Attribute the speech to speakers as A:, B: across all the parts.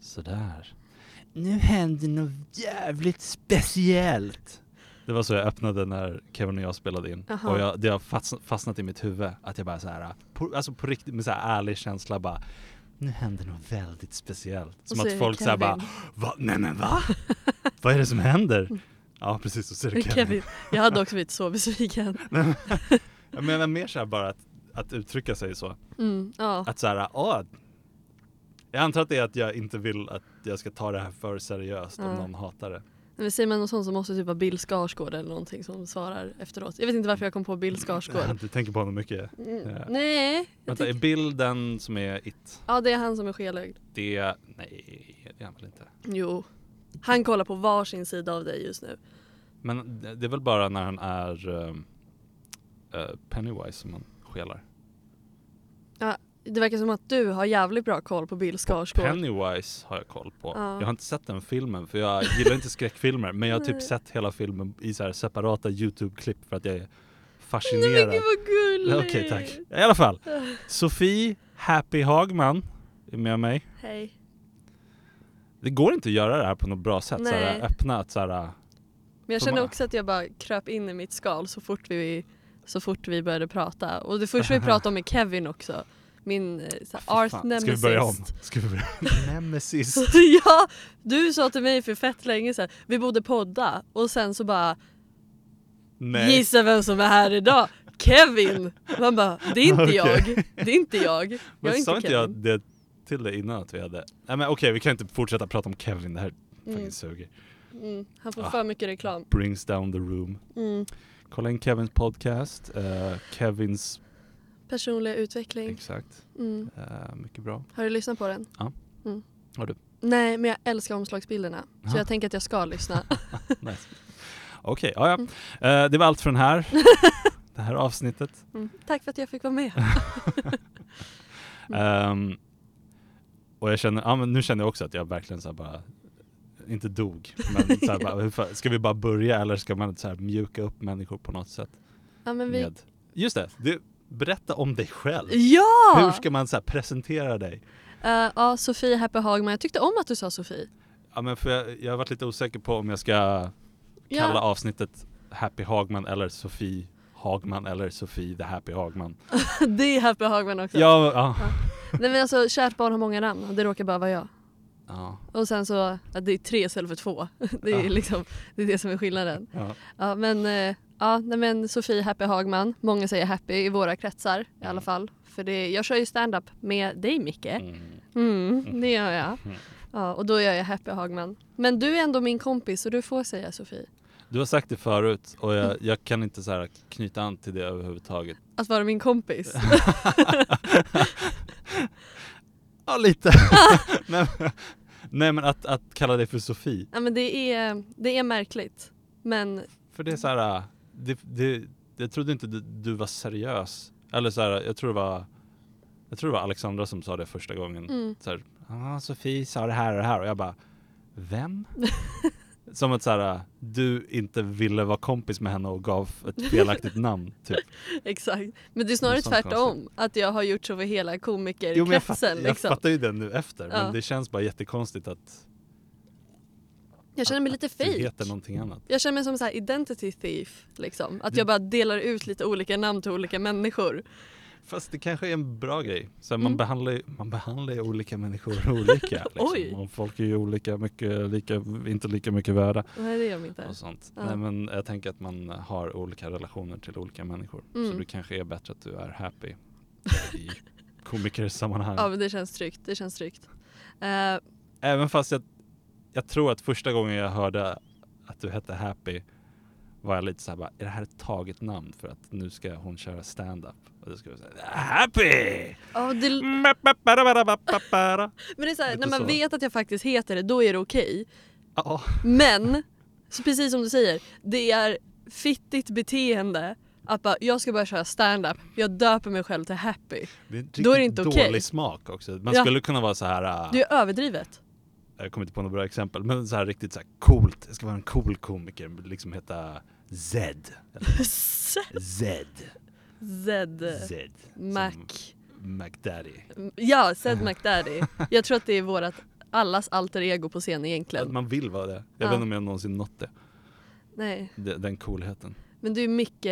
A: Sådär. Nu händer något jävligt speciellt. Det var så jag öppnade när Kevin och jag spelade in.
B: Aha.
A: Och jag, det har fastn- fastnat i mitt huvud att jag bara så här, på, alltså på riktigt med så här ärlig känsla bara, nu händer något väldigt speciellt. Som
B: så är
A: att
B: det
A: folk så här bara,
B: Kevin.
A: va? Nej men va? Vad är det som händer? Ja precis, och så är det Kevin.
B: Mm. Kevin. Jag hade också blivit så besviken.
A: Jag menar mer så här bara att, att uttrycka sig så.
B: Mm, ja.
A: Att så här, ja. Jag antar att det är att jag inte vill att jag ska ta det här för seriöst om
B: Ja.
A: någon hatar det.
B: Men säger man något sånt så måste det typ vara Bill Skarsgård eller någonting som svarar efteråt. Jag vet inte varför jag kom på Bill Skarsgård.
A: Du tänker på honom mycket.
B: Mm,
A: Ja.
B: nej, jag
A: Vänta, är
B: tycker,
A: Bill den som är it?
B: ja det är han som är skelögd.
A: Det... Nej, det är han väl inte.
B: Jo. Han kollar på varsin sida av dig just nu.
A: Men det det är väl bara när han är ehm, eh, Pennywise som man skelar.
B: Det verkar som att du har jävligt bra koll på Bill Skarsgård.
A: Pennywise har jag koll på.
B: Ja.
A: Jag har inte sett den filmen för jag gillar inte skräckfilmer. Men jag har
B: Nej.
A: typ sett hela filmen i så här separata YouTube-klipp för att jag är
B: Nej men
A: fascinerad.
B: gud vad gulligt!
A: Okej tack. I alla fall. Sofie Happy Hagman är med mig.
B: Hej.
A: Det går inte att göra det här på något bra sätt. Så här,
B: Nej.
A: öppna att så här,
B: Men jag
A: Får man-
B: kände också att jag bara kröp in i mitt skal så fort vi, så fort vi började prata. Och det första vi pratade om är Kevin också. Min eh, så här,
A: Fy
B: art
A: fan,
B: nemesis.
A: Ska vi börja om? Ska vi börja? Nemesis.
B: ja, du sa till mig för fett länge sedan, vi borde podda och sen så bara
A: Nej.
B: gissa vem som är här idag? Kevin! Man bara, det är inte
A: Okej.
B: jag, det är inte jag. Jag
A: men
B: är
A: sa
B: inte
A: inte
B: Kevin.
A: jag det till dig innan att vi hade... Nej men okej, vi kan inte fortsätta prata om Kevin. Det här fucking
B: Mm.
A: suger.
B: Mm, han får
A: Ah.
B: för mycket reklam.
A: Brings down the room.
B: Mm.
A: Kolla in Kevins podcast. eh, Kevins...
B: Personlig utveckling.
A: Exakt.
B: Mm.
A: Eh, mycket bra.
B: Har du lyssnat på den?
A: Ja.
B: Mm.
A: Har du?
B: Nej, men jag älskar omslagsbilderna. Så
A: Ja.
B: jag tänker att jag ska lyssna.
A: Nice. Okej, ja, ja. Eh, det var allt för den här. det här avsnittet.
B: Mm. Tack för att jag fick vara med. Mm.
A: Ehm, och jag känner, ja, men nu känner jag också att jag verkligen så här bara, inte dog, men så här bara, hur fan- ska vi bara börja eller ska man så här mjuka upp människor på något sätt?
B: Ja, men vi...
A: Med, just det, du, berätta om dig själv.
B: Ja!
A: Hur ska man så här presentera dig?
B: Eh, ja, Sofie Happy Hagman. Jag tyckte om att du sa Sofie.
A: Ja, men för jag, jag har varit lite osäker på om jag ska
B: Ja.
A: kalla avsnittet Happy Hagman eller Sofie Hagman eller Sofie the Happy Hagman.
B: Det är Happy Hagman också.
A: Ja, ja.
B: Nej men alltså kärt barn har många namn och det råkar bara vara jag.
A: ja,
B: Och sen så, att det är tre istället för två. Det är
A: Ja.
B: liksom, det är det som är skillnaden.
A: ja.
B: Ja men, eh, ja nej men Sofie Happy Hagman. Många säger Happy i våra kretsar i alla fall. För det, jag kör ju stand-up med dig Micke.
A: Mm.
B: Mm, det gör jag. Ja, och då gör jag Happy Hagman. Men du är ändå min kompis så du får säga Sofie.
A: Du har sagt det förut och jag, jag kan inte så här knyta an till det överhuvudtaget.
B: Att vara min kompis.
A: Ja, lite. nej, men- nej, men att, att kalla dig för Sofie.
B: Ja men det är, det är märkligt. Men
A: För det är så här, äh, det, det, jag trodde inte du, du var seriös. Eller så här, jag tror det var, jag tror det var Alexandra som sa det första gången.
B: mm,
A: Så här, ah, Sofie sa det här och det här och jag bara, vem? Som att så här, äh, du inte ville vara kompis med henne och gav ett felaktigt namn. Typ.
B: exakt. Men det är snarare
A: Något sånt
B: tvärtom. Att jag har gjort så för hela
A: Jo, men jag,
B: komikerkretsen.
A: fatt, jag
B: liksom.
A: fattar ju det nu efter
B: Ja.
A: men det känns bara jättekonstigt att
B: Jag känner mig lite
A: du
B: fake.
A: heter någonting annat.
B: Jag känner mig som så här identity thief. Liksom. Att
A: Du-
B: jag bara delar ut lite olika namn till olika människor.
A: Fast det kanske är en bra grej. Så här, man,
B: Mm.
A: behandlar ju, man behandlar ju olika människor olika.
B: Oj.
A: Liksom. Och folk är ju olika mycket, lika, inte lika mycket värda
B: Nej det gör vi inte.
A: och sånt.
B: Ja.
A: Nej, men jag tänker att man har olika relationer till olika människor. Så
B: Mm.
A: det kanske är bättre att du är happy i komikersammanhang.
B: Ja men det känns tryggt. Det känns tryggt. Eh,
A: Även fast jag, jag tror att första gången jag hörde att du hette Happy var jag lite såhär bara, är det här ett taget namn för att nu ska hon köra stand-up? Och då ska jag säga Happy!
B: Ja, det, l-
A: Mapaparabarabapapara.
B: men det är så här,
A: Mm. Lite
B: när man
A: så.
B: vet att jag faktiskt heter det, då är det okej.
A: Ja,
B: Men, så precis som du säger, det är fittigt beteende att bara, jag ska börja köra stand-up, jag döper mig själv till happy.
A: det är en
B: Då är det
A: riktigt
B: inte
A: dålig
B: okej.
A: smak också. Man
B: Ja.
A: skulle kunna vara så här. äh,
B: Det är överdrivet.
A: jag kommer inte på några bra exempel, men så här riktigt så här coolt. Jag ska vara en cool komiker, liksom heta Zed. Zed.
B: Zed
A: Zed. Som
B: Mac.
A: McDaddy.
B: Ja, Zed McDaddy. Jag tror att det är vårat, allas alter ego på scen egentligen.
A: Att man vill vara det. Jag
B: Ja.
A: vet inte om jag någonsin nått det.
B: Nej,
A: De- Den coolheten.
B: men du är Micke,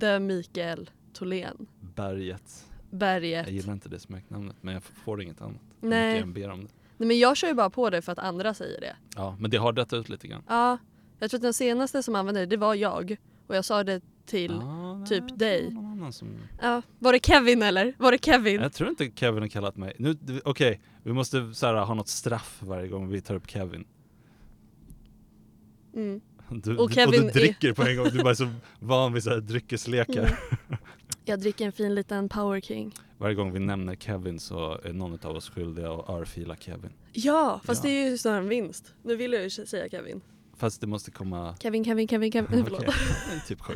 B: The Mikael Tholén.
A: Berget.
B: Berget.
A: Jag gillar inte det smeknamnet, men jag får inget annat. Hur mycket
B: Nej.
A: Jag ber om det.
B: Nej men jag kör ju bara på det för att andra säger det.
A: Ja, men det har dött ut lite grann.
B: Ja, jag tror att den senaste som använde det, det var jag. Och jag sa det till,
A: Ah,
B: typ
A: nej,
B: dig.
A: det var någon annan som-
B: ja, var det Kevin eller? Var det Kevin?
A: Jag tror inte Kevin har kallat mig. Nu, du- Okej, vi måste så här, ha något straff varje gång vi tar upp Kevin.
B: Mm.
A: Du,
B: Och
A: du-
B: Kevin
A: och
B: är-
A: du dricker på en gång. Du är bara så van vid så här, dryckeslekar.
B: Mm. Jag dricker en fin liten Power King.
A: Varje gång vi nämner Kevin så är någon av oss skyldiga att örfila Kevin.
B: Ja, fast
A: Ja.
B: det är ju snarare en vinst. Nu vill jag ju säga Kevin.
A: Fast det måste komma
B: Kevin, Kevin, Kevin, Kevin. Nej, förlåt.
A: Okej, det är typ sju.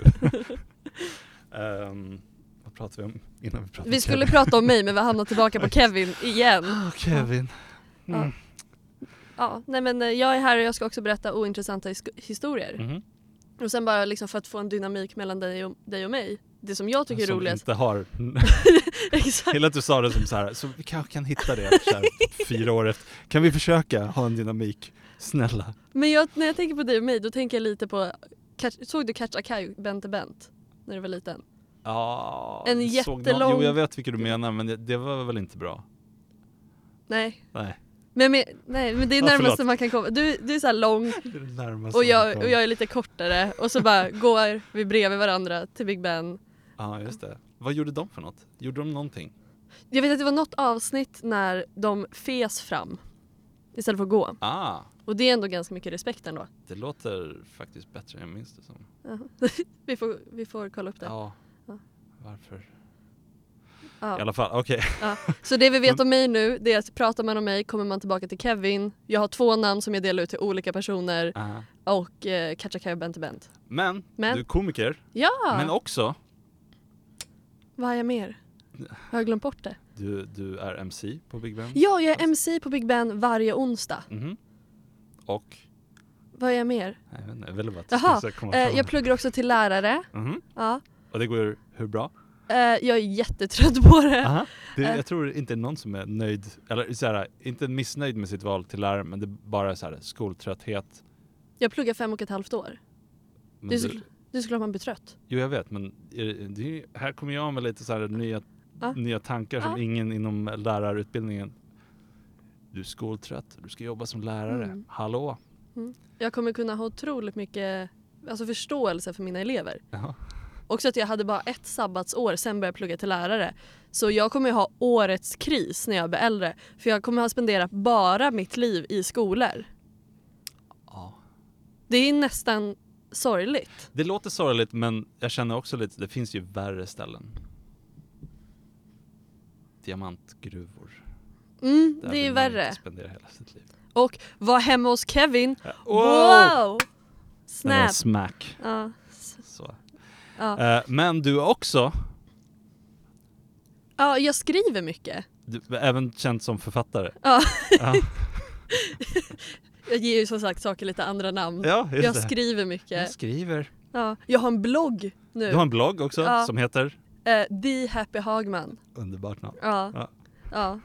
A: Ehm, vad pratade vi om innan vi pratade
B: Vi
A: om
B: skulle
A: Kevin?
B: prata om mig men vi hamnade tillbaka på Kevin igen.
A: Ah, Kevin. Mm.
B: Ja, nej men eh, jag är här och jag ska också berätta ointressanta his- historier.
A: Mhm.
B: Och sen bara liksom för att få en dynamik mellan dig och, dig och mig. Det som jag tycker är
A: Mm. Som
B: roligast.
A: inte har...
B: Exakt.
A: Hela att du sa det som så här, så vi kanske kan hitta det så här, fyra år efter. Kan vi försöka ha en dynamik? Snälla.
B: Men jag, när jag tänker på dig och mig då tänker jag lite på, catch, såg du Catch a Kai, Bente Bent? När du var liten?
A: Ja,
B: En
A: jag såg någon-
B: jättelång-
A: Jo, jag vet vilket du menar, men det, det var väl inte bra?
B: Nej.
A: Nej.
B: Men, men, nej, men det är
A: Ja,
B: närmaste
A: förlåt.
B: man kan komma. Du, du är så här lång
A: Det är det närmaste
B: och
A: man
B: jag,
A: kom.
B: och jag är lite kortare och så bara går vi bredvid varandra till Big Ben.
A: Ja, just det. Vad gjorde de för något? Gjorde de någonting?
B: Jag vet att det var något avsnitt när de fes fram istället för att gå.
A: Ah,
B: Och det är ändå ganska mycket respekt ändå.
A: det låter faktiskt bättre än jag minns det som.
B: Vi får, vi får kolla upp det.
A: Ja.
B: Ja.
A: Varför?
B: Ja.
A: I alla fall, okej.
B: Så det vi
A: Mm.
B: vet om mig nu det är att pratar man om mig kommer man tillbaka till Kevin. Jag har två namn som jag delar ut till olika personer och eh, Katja Kaj och Bente Bent.
A: Men,
B: Men?
A: du är komiker,
B: Ja!
A: men också
B: Vad har jag mer? Har jag glömt bort
A: Mm.
B: det?
A: du, du är MC på Big Ben.
B: Ja, jag är MC på Big Ben varje onsdag.
A: Mhm. Och?
B: Vad är jag mer?
A: Nej, Jag vet inte, jag ville bara att du skulle
B: Jaha,
A: försöka komma
B: eh,
A: fram.
B: jag pluggar också till lärare.
A: Mhm.
B: Ja.
A: Och det går hur bra?
B: Eh, jag är jättetrött på det.
A: Aha. Det,
B: Eh.
A: jag tror inte någon som är nöjd, eller så här, inte missnöjd med sitt val till lärare, men det är bara så här, skoltrötthet.
B: Jag pluggar fem och ett halvt år.
A: Men
B: Det är,
A: du-
B: såklart, det är såklart man blir trött.
A: Jo jag vet men är det- det är, ju- här kommer jag med lite så här nya,
B: Ja.
A: nya tankar som
B: Ja.
A: ingen inom lärarutbildningen. Du är skoltrött, du ska jobba som lärare.
B: Mm.
A: Hallå!
B: Jag kommer kunna ha otroligt mycket alltså förståelse för mina elever.
A: Ja.
B: Också att jag hade bara ett sabbatsår, sen började jag plugga till lärare. Så jag kommer ju ha årets kris när jag blir äldre. För jag kommer ha spenderat bara mitt liv i skolor.
A: Ja.
B: Det är nästan sorgligt.
A: Det låter sorgligt men jag känner också lite, det finns ju värre ställen. Diamantgruvor.
B: Mm,
A: Där
B: det
A: vill
B: är
A: man
B: värre.
A: inte Spendera hela sitt liv.
B: Och var hemma hos Kevin.
A: Wow!
B: Wow!
A: Det var en
B: Snap.
A: smack.
B: Ja.
A: Så.
B: Ja.
A: Eh, men du är också,
B: ja, jag skriver mycket.
A: du, även känd som författare.
B: Ja.
A: ja,
B: Jag ger ju som sagt saker lite andra namn.
A: ja just
B: Jag
A: det.
B: skriver
A: jag
B: mycket.
A: skriver.
B: Ja. Jag har en blogg nu.
A: Du har en blogg också
B: Ja.
A: som heter?
B: Eh, The Happy Hagman.
A: Underbart namn.
B: Ja.
A: Ja.
B: ja.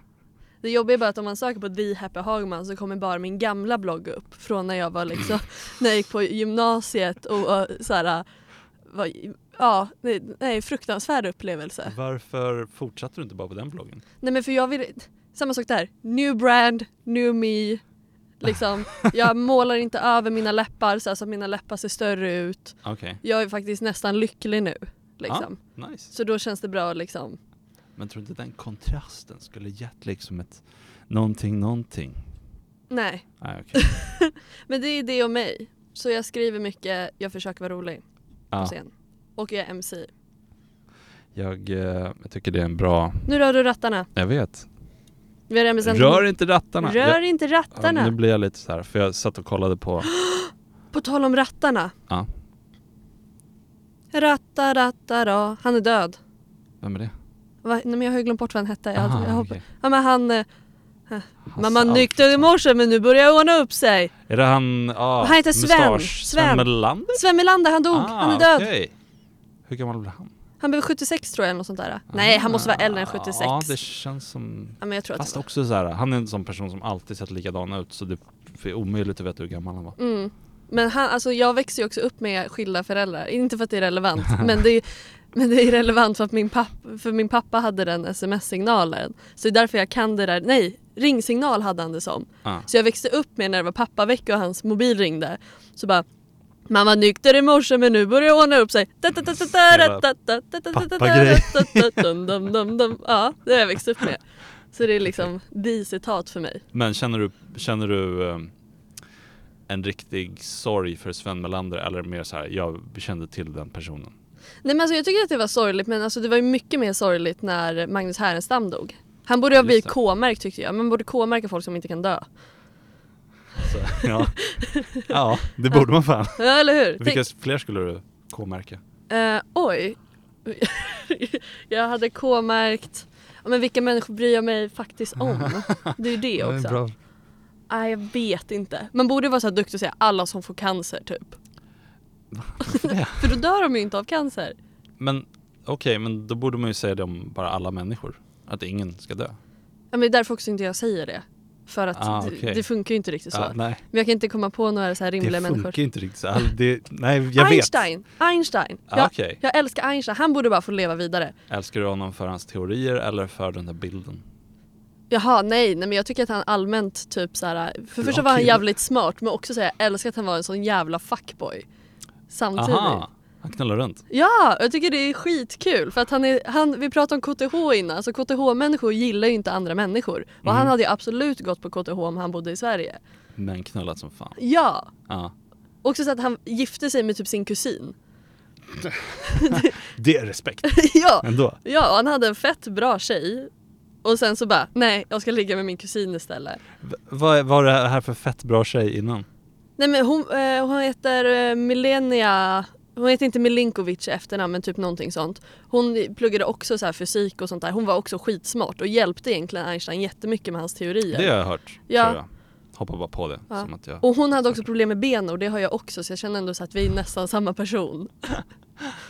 B: Det jobbiga är bara att om man söker på The Happy Hagman så kommer bara min gamla blogg upp från när jag var liksom, när jag gick på gymnasiet och, och såhär, var, ja, nej, nej, fruktansvärd
A: Mm.
B: upplevelse.
A: Varför fortsatte du inte bara på den bloggen?
B: Nej men för jag vill, samma sak där, new brand, new me, liksom. Jag målar inte över mina läppar så, här, så att mina läppar ser större ut.
A: Okej,
B: Jag är faktiskt nästan lycklig nu. Liksom.
A: nice.
B: Så då känns det bra liksom.
A: Men tror du inte den kontrasten skulle gett liksom ett någonting, någonting?
B: Nej,
A: Nej, okej.
B: men det är det och mig. Så jag skriver mycket, jag försöker vara rolig på
A: Ja,
B: scen. Och jag är MC.
A: jag, eh, jag tycker det är en bra...
B: Nu rör du rattarna.
A: Jag vet.
B: Vi har redan bestämt-
A: Rör inte rattarna!
B: Rör
A: Jag-
B: inte
A: ja,
B: rattarna!
A: Nu blir jag lite så här, för jag satt och kollade på...
B: På tal om rattarna.
A: Ja.
B: Ratta, ratta, ra. Han är död.
A: Vem är det?
B: Va? Nej, men jag har ju glömt bort vad han hette. Jag,
A: Aha,
B: jag hoppa-
A: okej.
B: ja, men han, eh,
A: Hasse
B: man var
A: Alfredson.
B: nykter i morse men nu börjar jag ordna upp sig.
A: Är det han... Ah,
B: Han heter Sven.
A: mustasch-
B: Sven.
A: Sven Melander?
B: Sven Melander, han dog. han är död.
A: Ah, okej. Hur gammal blev han?
B: Han blev 76 tror jag eller något sånt där. Nej, Eh, han måste vara äldre än 76.
A: Ah. Ja, det känns som...
B: Ja, men jag tror att
A: Fast
B: det var.
A: också så här, han är en sån person som alltid sett likadan ut så det är omöjligt att veta hur gammal han var.
B: Mm. Men han, alltså, jag växer ju också upp med skilda föräldrar. Inte för att det är relevant men det är, men det är relevant för att min, papp, för min pappa hade den sms-signalen. Så det är därför jag kan det där. Nej, ringsignal hade han det som.
A: Ah.
B: Så jag växte upp med när det var pappavecka och hans mobil ringde. Så bara man var nykter i morse men nu börjar det ordna upp sig.
A: pappagrej.
B: Dum, dum, dum, dum. Ja, det har jag växt upp med. Så det är liksom de citat för mig.
A: Men känner du, känner du ehm, en riktig sorg för Sven Melander eller mer så här, jag kände till den personen?
B: Nej men alltså jag tycker att det var sorgligt men alltså det var ju mycket mer sorgligt när Magnus Härenstam dog. Han borde ha
A: Just
B: blivit
A: det.
B: K-märkt tyckte jag. Man borde K-märka folk som inte kan dö.
A: Så, ja. ja, det borde man fan.
B: Ja, eller hur? Tänk-
A: Vilka fler skulle du K-märka?
B: Eh, oj. jag hade K-märkt. Ja, Men vilka människor bryr jag mig faktiskt om? Det är ju det också. Nej, jag vet inte. Man borde vara så här duktig och säga alla som får cancer typ.
A: det?
B: För då dör de ju inte av cancer.
A: Men okej, men då borde man ju säga det om bara alla människor. Att ingen ska dö.
B: Ja, Men det är därför också inte jag säger det. För att
A: Ah,
B: det-
A: okej.
B: det funkar ju inte riktigt så.
A: Ja, nej,
B: Men jag kan inte komma på några så här
A: det funkar
B: rimliga människor.
A: inte riktigt så. All- Det, nej, jag vet.
B: Einstein! Einstein!
A: Ah,
B: Jag,
A: Okej,
B: jag älskar Einstein, han borde bara få leva vidare.
A: älskar du honom för hans teorier eller för den där bilden?
B: Jaha, nej, nej men jag tycker att han allmänt typ så här. För det första
A: Bra
B: var han
A: kille.
B: jävligt smart men också så här, jag älskar att han var en sån jävla fuckboy. Samtidigt.
A: Aha, han knullar runt.
B: Ja, jag tycker det är skitkul för att han är, han, vi pratade om KTH innan, så KTH-människor gillar ju inte andra människor. Och han
A: Mm.
B: hade ju absolut gått på KTH om han bodde i Sverige.
A: Men knullat som fan.
B: Ja!
A: Ja.
B: Också så att han gifte sig med typ sin kusin.
A: Det är respekt
B: ja!
A: ändå.
B: Ja, och han hade en fett bra tjej. Och sen så bara, nej jag ska ligga med min kusin istället.
A: V- Vad var det här för fett bra tjej innan?
B: Nej men hon, eh, hon heter eh, Milenia, hon heter inte Milinkovic i efternamn men typ någonting sånt. Hon pluggade också så här fysik och sånt där. Hon var också skitsmart och hjälpte egentligen Einstein jättemycket med hans teorier.
A: Det har jag hört,
B: Ja.
A: tror jag. Hoppar bara på det.
B: Ja.
A: Som att jag...
B: Och hon hade också problem med ben och det har jag också så jag känner ändå så att vi är nästan samma person.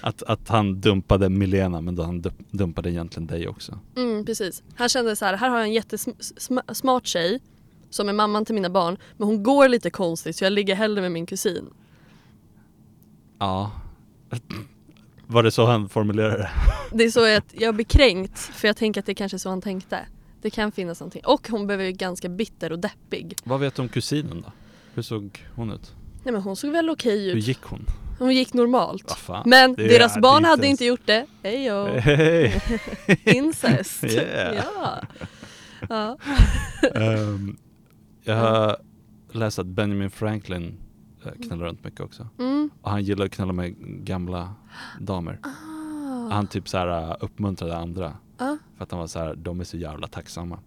A: att, att han dumpade Milena, men då han dump- dumpade egentligen dig också.
B: Mm, precis. Han kände så här, här har jag en jättesmart tjej som är mamman till mina barn men hon går lite konstigt så jag ligger hellre med min kusin.
A: Ja. Var det så han formulerade det?
B: Det är så att jag blir kränkt för jag tänker att det kanske är så han tänkte. Det kan finnas någonting. Och hon blev ju ganska bitter och deppig.
A: Vad vet du om kusinen då? Hur såg hon ut?
B: Nej men hon såg väl okej
A: Hur
B: ut.
A: gick hon?
B: Hon gick normalt.
A: Vad fan?
B: Men
A: Det är-
B: deras
A: det är
B: barn
A: inte
B: hade
A: ens-
B: inte gjort det. Hejo!
A: Hej!
B: Incest!
A: Yeah.
B: Ja. ja.
A: Ehm, jag har läst att Benjamin Franklin eh, knullar runt mycket också.
B: Mm.
A: Och han gillar att knulla med gamla damer.
B: Ah.
A: Han typ så här eh, uppmuntrade andra.
B: Ah.
A: För att han var så här, de är så jävla tacksamma.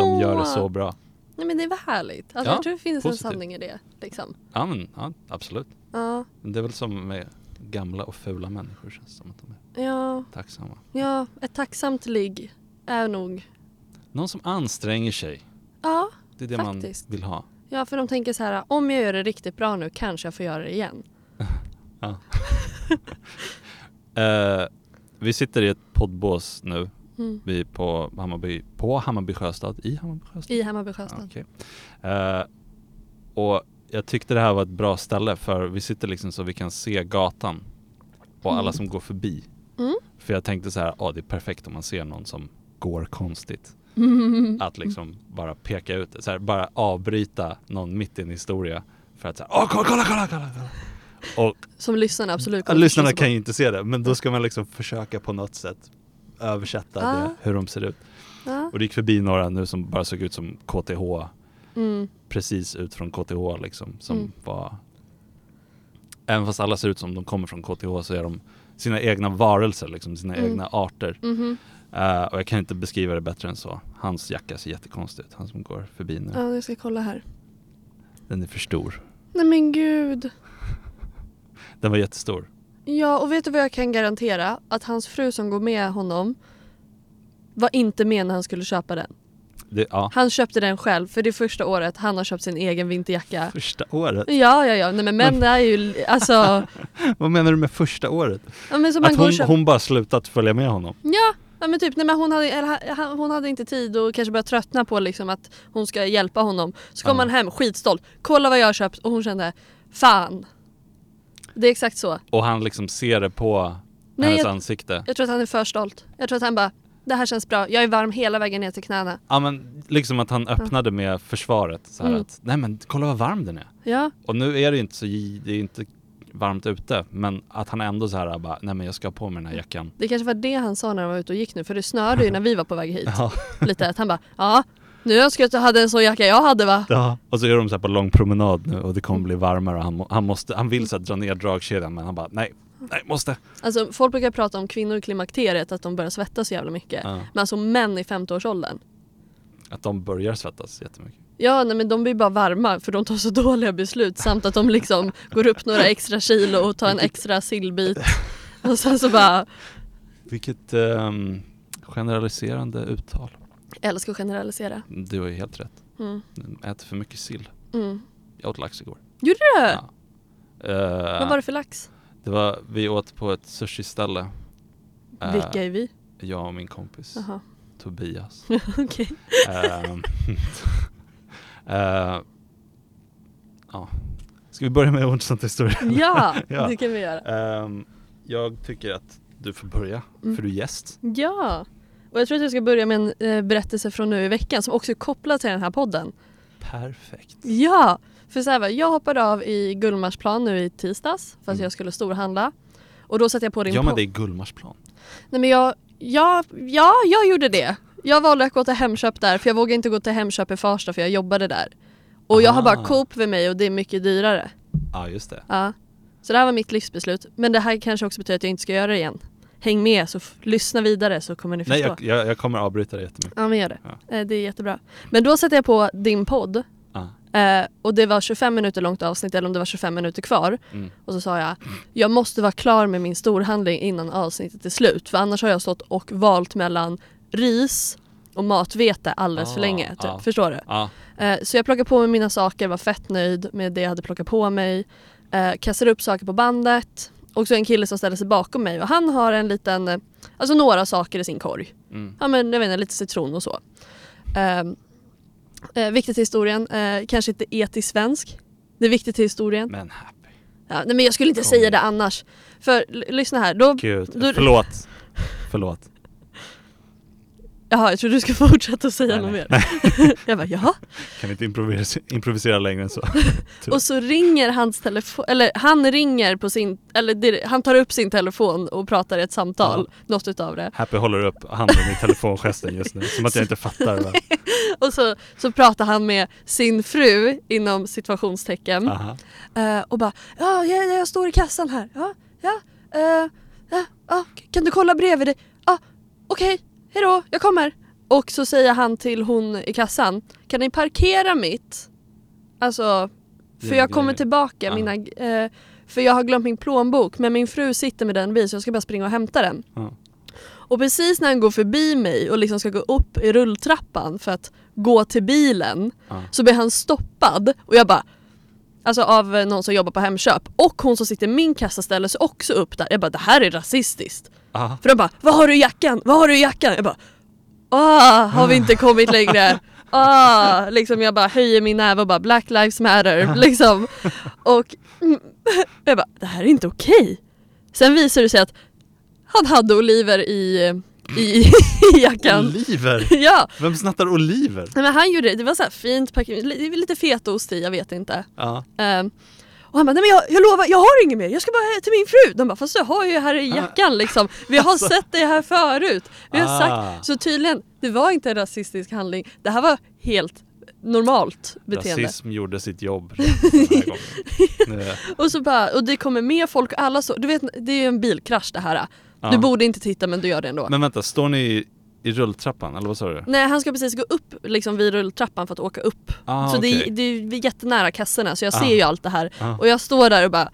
A: De gör det så bra.
B: Nej men det var härligt. Alltså,
A: Ja,
B: jag tror det finns
A: positivt.
B: en sanning i det. Liksom.
A: Ja men ja, absolut.
B: Ja.
A: Men Det är väl som med gamla och fula människor känns det som att de är
B: Ja.
A: tacksamma.
B: ja, ett tacksamt ligg är nog...
A: Någon som anstränger sig.
B: Ja.
A: Det är det
B: Faktiskt.
A: man vill ha.
B: ja, för de tänker så här om jag gör det riktigt bra nu kanske jag får göra det igen.
A: Eh, vi sitter i ett poddbås nu.
B: Mm.
A: Vi är på Hammarby, på Hammarby Sjöstad, i Hammarby Sjöstad.
B: I Hammarby Sjöstad.
A: Ja, okej. Eh, och jag tyckte det här var ett bra ställe för vi sitter liksom så vi kan se gatan och alla som går förbi.
B: Mm.
A: För jag tänkte så här, ja det är perfekt om man ser någon som går konstigt. Att liksom bara peka ut, så här, bara avbryta någon mitt i en historia för att säga, åh kolla, kolla, kolla, kolla, kolla. Och
B: Som lyssnarna absolut
A: Ja,
B: kommer
A: lyssnarna
B: förstå sig
A: kan ju inte se det, men då ska man liksom försöka på något sätt översätta
B: Ja.
A: det, hur de ser ut.
B: på. Ja.
A: Och det gick förbi några nu som bara såg ut som KTH,
B: Mm.
A: precis ut från KTH liksom, som
B: Mm.
A: var Även fast alla ser ut som de kommer från KTH så är de sina egna varelser, liksom, sina
B: Mm.
A: egna arter.
B: Mhm.
A: Eh, och jag kan inte beskriva det bättre än så. Hans jacka ser jättekonstig ut, han som går förbi nu.
B: Ja, jag ska kolla här.
A: Den är för stor.
B: Nej men gud.
A: Den var jättestor.
B: Ja, och vet du vad jag kan garantera? Att hans fru som går med honom var inte med när han skulle köpa den.
A: Det, ja.
B: Han köpte den själv för det är första året han har köpt sin egen vinterjacka.
A: Första året?
B: Ja, ja, ja. Nej, men män är ju alltså...
A: Vad menar du med första året?
B: Ja, men som man
A: Att
B: går och
A: hon,
B: köper.
A: hon bara slutat följa med honom?
B: Ja, ja, men typ. Nej, men hon, hade, eller, han- han- hon hade inte tid och kanske började tröttna på liksom, att hon ska hjälpa honom. Så kom
A: Ja.
B: han hem skitstolt. Kolla vad jag har köpt och hon kände fan. Det är exakt så.
A: Och han liksom ser det på
B: Nej,
A: hennes
B: jag-
A: ansikte?
B: Jag tror att han är för stolt. Jag tror att han bara det här känns bra. Jag är varm hela vägen ner till knäna.
A: Ja men liksom att han öppnade med försvaret så här
B: Mm.
A: att nej men kolla vad varm den är.
B: Ja,
A: Och nu är det ju inte så, det är inte varmt ute men att han ändå så här bara nej men jag ska ha på mig den här jackan.
B: det kanske var det han sa när han var ute och gick nu för det snörde ju när vi var på väg hit.
A: Ja.
B: Lite att han bara ja, nu önskar jag att jag hade en sån jacka jag hade va.
A: Och så är de så här på lång promenad nu och det kommer
B: Mm.
A: bli varmare och han, må, han måste, han vill så här dra ner dragkedjan men han bara nej,
B: Mm.
A: nej måste.
B: Alltså folk brukar prata om kvinnor i klimakteriet att de börjar svettas så jävla mycket.
A: Ja.
B: Men alltså män i 50-årsåldern.
A: Att de börjar svettas jättemycket.
B: Ja, nej, men de blir bara varma för de tar så dåliga beslut samt att de liksom går upp några extra kilo och tar en extra sillbit. Och sen så bara,
A: Vilket ehm, generaliserande uttal.
B: jag älskar att generalisera.
A: Du har ju helt rätt.
B: Mm.
A: Äter för mycket sill.
B: Mm.
A: Jag åt lax igår.
B: Gjorde du det?
A: Ja. Eh,
B: Vad var det för lax?
A: Det var, vi åt på ett sushiställe. Eh,
B: Vilka är vi?
A: Jag och min kompis
B: Jaha,
A: Tobias.
B: okej.
A: Ehm, eh, ja. Ska vi börja med ointressant historia?
B: Ja,
A: Ja.
B: det kan vi göra.
A: Ehm, jag tycker att du får börja,
B: Mm.
A: för du är gäst.
B: Ja, och jag tror att jag ska börja med en eh, berättelse från nu i veckan som också är kopplad till den här podden.
A: Perfekt.
B: Ja! För så här var, det, jag hoppade av i Gullmarsplan nu i tisdags för att
A: Mm.
B: jag skulle storhandla. Och då satte jag på din
A: Ja men
B: podd.
A: det är Gullmarsplan.
B: Nej men jag, ja, ja, jag gjorde det. Jag valde att gå till Hemköp där för jag vågade inte gå till Hemköp i Farsta för jag jobbade där. Och jag har bara
A: Ah.
B: Coop vid mig och det är mycket dyrare.
A: Ja just det.
B: Ja. Så det här var mitt livsbeslut. Men det här kanske också betyder att jag inte ska göra det igen. Häng med så f- lyssna vidare så kommer ni förstå.
A: Nej jag, jag, jag kommer avbryta dig jättemycket.
B: Ja men gör det. Eh, Det är jättebra. Men då satte jag på din podd
A: Ah.
B: eh, och det var 25 minuter långt avsnitt eller om det var 25 minuter kvar.
A: Mm.
B: Och så sa jag, jag måste vara klar med min storhandling innan avsnittet är slut för annars har jag stått och valt mellan ris och matvete alldeles
A: Ah,
B: för länge. Typ.
A: ah.
B: Förstår du?
A: Ja.
B: Eh, så jag plockade på mig mina saker, var fett nöjd med det jag hade plockat på mig. Eh, kastade upp saker på bandet. Och så en kille som ställde sig bakom mig och han har en liten, eh, alltså några saker i sin korg.
A: Mm.
B: Ja men jag vet inte, lite citron och så. Ehm, eh, viktigt till historien, eh, kanske inte etiskt svensk. Det är viktigt till historien.
A: Men happy.
B: Ja, nej men jag skulle inte
A: Kom
B: säga
A: igen.
B: det annars. För l- lyssna här, då...
A: Gud,
B: då-
A: förlåt. Förlåt.
B: Jaha, jag trodde du skulle fortsätta säga
A: Nej,
B: något
A: nej.
B: mer. jag bara, jaha?
A: Kan vi inte improvisera, improvisera längre än så?
B: Och så ringer hans telefon, eller han ringer på sin, eller dir- han tar upp sin telefon och pratar i ett samtal, något utav det.
A: Happy håller upp handen i telefongesten just nu, som att jag inte fattar. Va?
B: Och så, så pratar han med sin fru inom situationstecken.
A: Aha.
B: Eh, och bara ja, ja, ja, jag står i kassan här. Ja, ja, eh, ja, ja, kan du kolla bredvid dig? Ja, okej, hejdå, jag kommer. Och så säger han till hon i kassan, kan ni parkera mitt? Alltså, för
A: Dina
B: jag kommer
A: grejer.
B: tillbaka,
A: Aha.
B: mina, eh, för jag har glömt min plånbok men min fru sitter med den vid så jag ska bara springa och hämta den.
A: Ja.
B: Och precis när han går förbi mig och liksom ska gå upp i rulltrappan för att gå till bilen
A: Ja.
B: så blir han stoppad och jag bara Alltså av eh, någon som jobbar på Hemköp och hon som sitter i min kassa ställer sig också upp där. Jag bara det här är rasistiskt.
A: Aha.
B: För de bara vad har du i jackan? Vad har du i jackan? Jag bara ah har vi inte kommit längre? Ah, liksom jag bara höjer min näve och bara black lives matter liksom. Och mm, jag bara det här är inte okej. Sen visar det sig att han hade oliver i, i, i jackan.
A: Oliver!
B: Ja,
A: Vem snattar oliver?
B: Nej, men han gjorde det. Det var så här fint packat, li- lite fetaost i, jag vet inte.
A: Ja.
B: Ehm, och han bara, nej men jag, jag lovar, jag har inget mer, jag ska bara till min fru. De bara, fast du har ju här i jackan liksom. Vi har sett dig här förut. Vi har
A: Alltså. Ah.
B: sagt. Så tydligen, det var inte en rasistisk handling. Det här var helt normalt beteende.
A: Rasism gjorde sitt jobb redan den här gången. Nu-
B: Och så bara, och det kommer med folk och alla så, du vet det är ju en bilkrasch det här.
A: ja.
B: Du borde inte titta men du gör det ändå.
A: Ah. Men vänta, står ni i, i rulltrappan eller vad sa du?
B: Nej han ska precis gå upp liksom vid rulltrappan för att åka upp.
A: Ah,
B: så det,
A: okej.
B: är, det är vi är jättenära kassorna så jag
A: Ah.
B: ser ju allt det här.
A: Ah.
B: Och jag står där och bara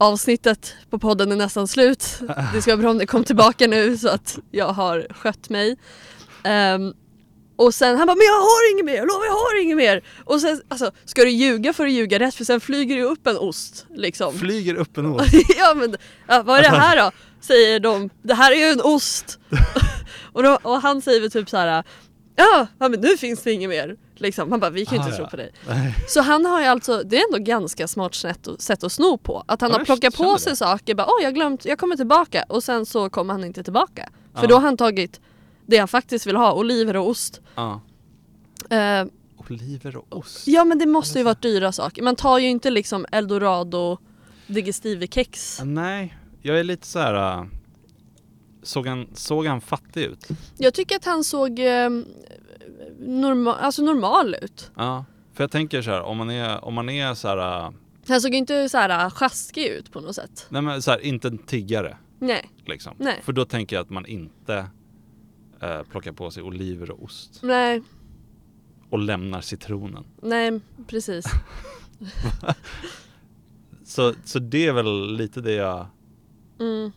B: Avsnittet på podden är nästan slut. Det ska vara bra om det kom tillbaka nu så att jag har skött mig. Ehm, och sen han bara men jag har inget mer, jag lovar jag har inget mer. Och sen alltså ska du ljuga för att ljuga rätt för sen flyger det ju upp en ost liksom.
A: Flyger upp en ål.
B: ja men ja, vad är det
A: Alltså-
B: här då? Säger de. Det här är ju en ost. och, då, och han säger väl typ så här. Ja, ja men nu finns det inget mer. Liksom. Han bara vi kan ju
A: Ah,
B: inte
A: ja.
B: tro på dig. Så han har ju alltså, det är ändå ganska smart sätt att, sätt att sno på. Att han
A: Ja,
B: har
A: jag
B: plockat
A: känner
B: på
A: det.
B: sig saker, bara åh jag har glömt, jag kommer tillbaka. Och sen så kommer han inte tillbaka. För
A: Ja.
B: då har han tagit det han faktiskt vill ha, oliver och ost.
A: Ja.
B: Eh,
A: Oliver och ost.
B: ja men det
A: Alltså.
B: måste ju varit dyra saker. Man tar ju inte liksom eldorado digestivekex.
A: Ah, Nej, jag är lite så här. äh, såg, han, såg han fattig ut?
B: Jag tycker att han såg eh, norma- alltså normal ut.
A: Ja. För jag tänker så här, om man är, om man är så här. äh,
B: Han såg inte så här eh, sjaskig ut på något sätt.
A: nej men så här, inte en tiggare
B: Nej,
A: liksom.
B: Nej.
A: För då tänker jag att man inte äh, plockar på sig oliver och ost
B: nej,
A: och lämnar citronen.
B: nej precis.
A: Så, så det är väl lite det jag
B: Mm.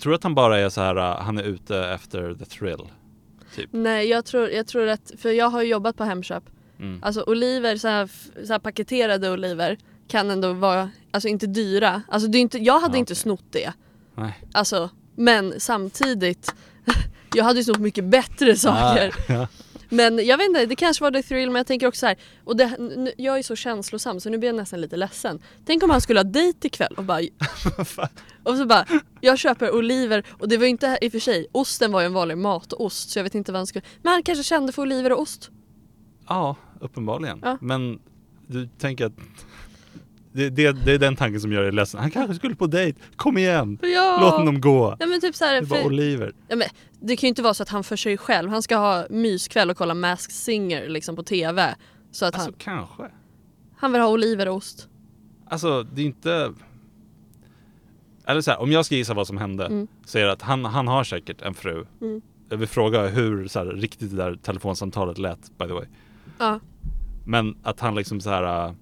A: tror att han bara är så här. äh, han är ute efter the thrill.
B: Nej, jag tror, jag tror att, för jag har ju jobbat på Hemköp.
A: Mm.
B: Alltså oliver, så här, f- så här paketerade oliver kan ändå vara, alltså inte dyra. Alltså det är inte, jag hade
A: Ja,
B: inte
A: okej.
B: snott det.
A: Nej.
B: Alltså, men samtidigt, jag hade ju snott mycket bättre saker.
A: Ah, ja.
B: Men jag vet inte, det kanske var the thrill men jag tänker också så här, och det, nu, jag är så känslosam så nu blir jag nästan lite ledsen. Tänk om han skulle ha dejt ikväll och bara... och så bara, jag köper oliver och det var ju inte i och för sig, osten var ju en vanlig matost så jag vet inte vad han skulle... Men han kanske kände för oliver och ost.
A: Ja, uppenbarligen.
B: Ja.
A: Men du tänker att det, det, det är den tanken som gör dig ledsen. Han kanske skulle på dejt. Kom igen!
B: Ja.
A: Låt honom gå!
B: Nej men typ så här,
A: Det var
B: för,
A: Oliver.
B: ja, men, det kan ju inte vara så att han för sig själv, han ska ha myskväll och kolla Masked Singer liksom på TV. Så att
A: Alltså
B: han,
A: kanske.
B: han vill ha oliver och ost.
A: Alltså det är inte... Eller så här, om jag ska gissa vad som hände
B: Mm.
A: så är det att han, han har säkert en fru.
B: Mm.
A: Jag vill fråga hur så här, riktigt det där telefonsamtalet lät by the way.
B: Ja.
A: Men att han liksom så här, äh,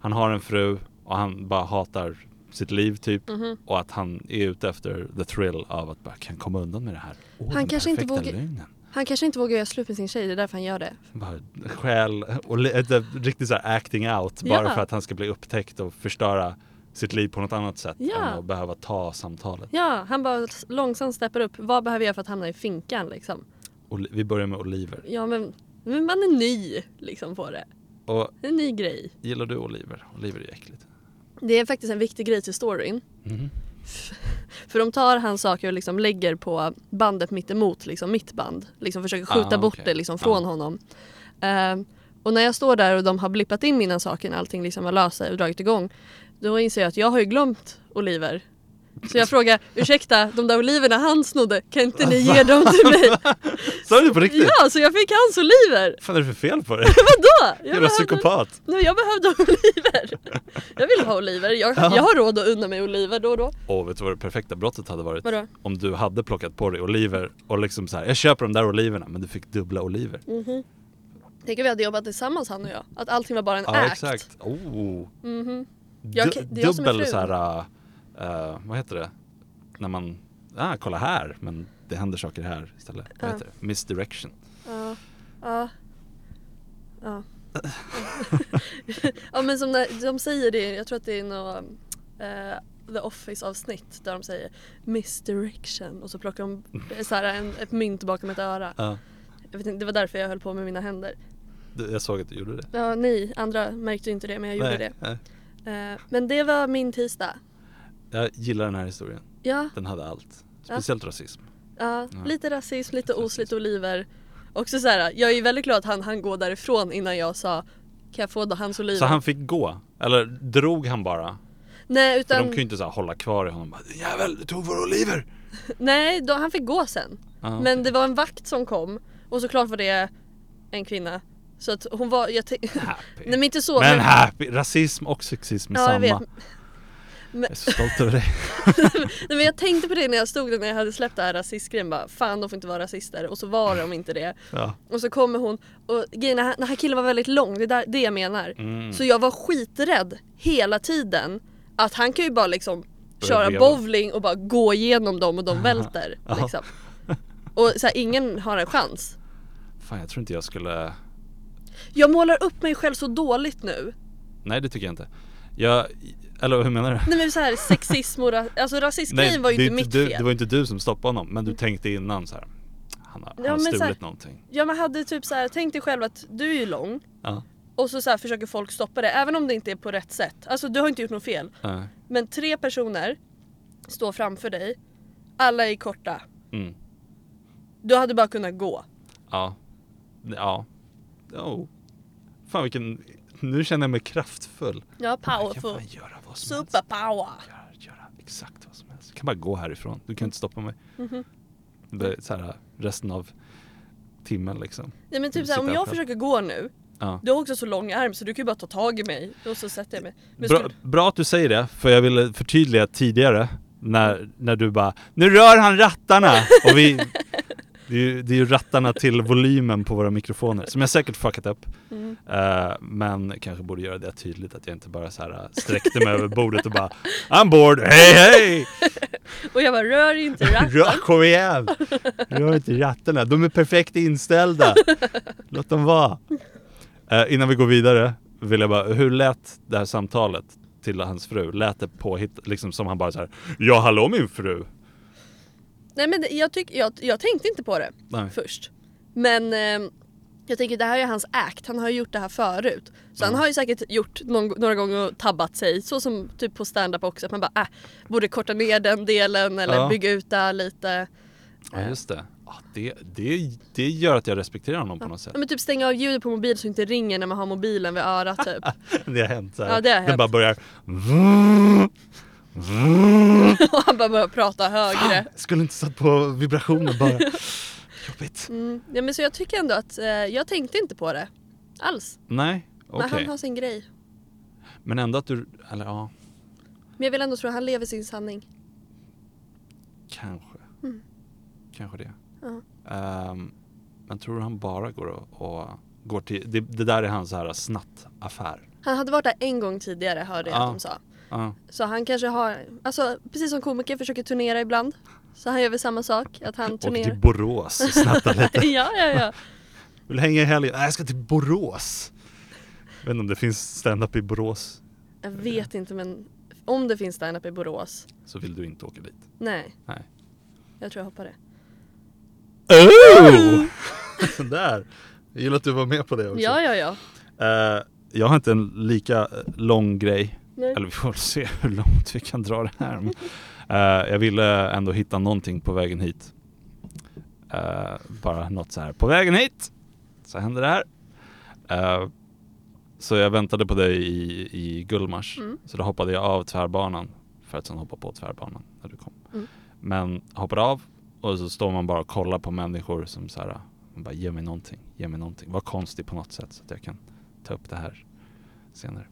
A: han har en fru och han bara hatar sitt liv typ.
B: mhm.
A: Och att han är ute efter the thrill av att bara kan komma undan med det här. Åh,
B: Han
A: den
B: kanske inte
A: perfekta
B: vågar-
A: lögnen.
B: Han kanske inte vågar göra slut med sin tjej, det är därför han gör det.
A: Bara skäl och li- ett, ett riktigt så här acting out bara
B: Ja.
A: för att han ska bli upptäckt och förstöra sitt liv på något annat sätt
B: Ja.
A: än att behöva ta samtalet.
B: Ja, han bara s- långsamt steppar upp. Vad behöver jag för att hamna i finkan liksom?
A: Oli- vi börjar med Oliver.
B: Ja men, men man är ny liksom på det.
A: Och
B: Det är En ny grej.
A: gillar du Oliver? Oliver är ju äckligt.
B: Det är faktiskt en viktig grej till storyn.
A: Mhm.
B: För de tar hans saker och liksom lägger på bandet mitt emot, liksom mitt band. Liksom försöker skjuta
A: Ah,
B: bort
A: okej.
B: det liksom från
A: Ah.
B: honom. Ehm, och när jag står där och de har blippat in mina saker när allting liksom har löst sig och dragit igång. Då inser jag att jag har ju glömt oliver. Så jag frågar, ursäkta, de där oliverna han snodde, kan inte ni ge dem till mig?
A: Sa du det på riktigt?
B: Ja, så jag fick hans oliver!
A: Vad fan är det för fel på dig?
B: Vadå? Jag
A: Jävla
B: behövde,
A: psykopat!
B: nej, jag behövde oliver. Jag vill ha oliver. Jag, jag har råd att unna mig oliver då och då.
A: Och vet du vad det perfekta brottet hade varit?
B: Vadå?
A: Om du hade plockat på dig oliver och liksom så här, jag köper de där oliverna men du fick dubbla oliver.
B: Mm, Tänk om vi hade jobbat tillsammans han och jag. Att allting var bara en
A: Ja
B: act. Mhm.
A: exakt. Oh.
B: Jag
A: Du-
B: kan- det är jag som är
A: dubbel
B: frun.
A: så här, äh, vad heter det? När man, ah, kolla här, men det händer saker här istället. Vad
B: Ja.
A: heter det? Misdirection.
B: Ja. Ja. Ja. ja men som när, de säger det, jag tror att det är något eh, The Office avsnitt där de säger misdirection och så plockar de så här, en, ett mynt bakom ett öra.
A: Ja.
B: Jag vet inte, det var därför jag höll på med mina händer.
A: Du, jag såg att du gjorde det.
B: Ja, ni andra märkte inte det men jag gjorde
A: Nej, nej.
B: det. Eh, men det var min tisdag.
A: Jag gillar den här historien.
B: Ja,
A: Den hade allt.
B: Ja.
A: Speciellt rasism.
B: ja,
A: Ja.
B: lite rasism, lite os,
A: Rasism.
B: lite oliver. Också så här, jag är ju väldigt glad att han, han går därifrån innan jag sa kan jag få hans oliver?
A: Så han fick gå. Eller drog han bara?
B: Nej,
A: För
B: utan,
A: de kan ju inte så här, hålla kvar i honom. Bara, "Din Jävel, du tog våra oliver!
B: nej då, han fick gå sen.
A: Ja,
B: Men det var en vakt som kom och såklart var det en kvinna Så att hon var, jag tänk-
A: Happy.
B: Nej men inte så.
A: men happy, rasism och sexism är
B: Ja, jag
A: samma.
B: vet.
A: Jag, är så stolt över dig.
B: Nej, men jag tänkte på det när jag stod där när jag hade släppt det här rasistgrejen bara fan de får inte vara rasister och så var de inte det.
A: Ja.
B: Och så kommer hon och grejen är, den här killen var väldigt lång, det är där, det jag menar.
A: Mm.
B: Så jag var skiträdd hela tiden att han kan ju bara liksom
A: Börja
B: köra
A: veva.
B: bowling och bara gå igenom dem och de välter.
A: Ja.
B: Liksom. Och så här, ingen har en chans.
A: Fan jag tror inte jag skulle
B: Jag målar upp mig själv så dåligt nu.
A: Nej det tycker jag inte. Jag, eller hur menar du?
B: Nej men så här sexism och ra- alltså rasistgrejen var ju
A: det är
B: inte mitt
A: du,
B: fel.
A: Det var ju inte du som stoppade honom, men du tänkte innan så här. Han har, han
B: Ja,
A: har
B: men så
A: stulit
B: här-
A: någonting.
B: Ja men hade typ så här, tänk dig själv att du är ju lång
A: Ja.
B: och så, så här, försöker folk stoppa det även om det inte är på rätt sätt. Alltså du har inte gjort något fel.
A: ja.
B: Men tre personer står framför dig, alla är korta.
A: Mm.
B: Du hade bara kunnat gå.
A: Ja. Ja. Oh. Fan vilken... Nu känner jag mig kraftfull.
B: Ja,
A: Jag kan
B: powerful.
A: fan göra vad som helst.
B: Superpower.
A: Göra, göra exakt vad som helst. Jag kan bara gå härifrån. Du kan inte stoppa mig.
B: Mhm.
A: Det är så här, resten av timmen liksom.
B: Nej men typ
A: Sitta
B: såhär, om jag
A: själv.
B: försöker gå nu,
A: Ja.
B: du har också så lång arm så du kan ju bara ta tag i mig och så sätter jag mig. Men
A: Bra,
B: skulle,
A: bra att du säger det, för jag ville förtydliga tidigare när, när du bara Nu rör han rattarna! Och vi, det, är ju, det är ju rattarna till volymen på våra mikrofoner som jag säkert fuckat upp.
B: mm.
A: Eh, men kanske borde göra det tydligt att jag inte bara så här eh, sträckte mig över bordet och bara I'm bored, hej hej!
B: Och jag bara, rör inte ratten.
A: Rör, kom igen! Rör inte rattarna, de är perfekt inställda. Låt dem vara. Eh, innan vi går vidare vill jag bara, hur lät det här samtalet till hans fru? Lät det påhitt, liksom som han bara så här, ja hallå min fru.
B: Nej men det- jag, tyck, jag, jag tänkte inte på det
A: Nej.
B: först. Men ehm, jag tänker det här är hans act, han har ju gjort det här förut. Så han har ju säkert gjort någon, några gånger och tabbat sig, så som typ på stand-up också att man bara äh, borde korta ner den delen eller
A: Ja.
B: bygga ut det här lite.
A: Ja just det. Ja, det, det. Det gör att jag respekterar honom på något sätt.
B: Ja, men typ stänga av ljudet på mobilen så det inte ringer när man har mobilen vid örat typ.
A: Det har hänt så här.
B: Ja, det har
A: Den
B: hänt.
A: bara börjar
B: och han bara börjar prata högre.
A: Fan, skulle inte satt på vibrationer bara. Jobbigt.
B: Mm. Ja, men så jag tycker ändå att eh, jag tänkte inte på det alls.
A: Nej, okej.
B: Men han har sin grej.
A: Men ändå att du, eller ja,
B: Men jag vill ändå tro att han lever sin sanning.
A: Kanske. Kanske det.
B: Mm. Ja.
A: Ehm, men tror du han bara går och, och går till... Det, det där är hans så här snattaffär.
B: Han hade varit där en gång tidigare hörde jag
A: Ja.
B: att de sa.
A: Ja.
B: Så han kanske har, alltså precis som komiker försöker turnera ibland. Så han gör väl samma sak, att han
A: Och till
B: turnerar.
A: Borås och snatta lite.
B: ja, ja, ja.
A: Vill hänga i helgen? Nej, jag ska till Borås. Jag vet inte om det finns stand-up i Borås.
B: Jag vet inte men om det finns standup i Borås.
A: Så vill du inte åka dit.
B: Nej,
A: Nej.
B: jag tror jag hoppar det.
A: Oh! Sådär. Jag gillar att du var med på det också.
B: Ja, ja, ja.
A: Eh, jag har inte en lika eh, lång grej.
B: Nej.
A: Eller vi får väl se hur långt vi kan dra det här. Men, eh, jag ville ändå hitta någonting på vägen hit. Eh, bara något så här. På vägen hit så händer det här. Eh, så jag väntade på dig i, i Gullmars.
B: Mm.
A: Så då hoppade jag av tvärbanan för att sen hoppa på tvärbanan när du kom.
B: Mm.
A: Men hoppade av och så står man bara och kollar på människor som så här. Man bara ge mig någonting, ge mig någonting. Var konstig på något sätt så att jag kan ta upp det här senare.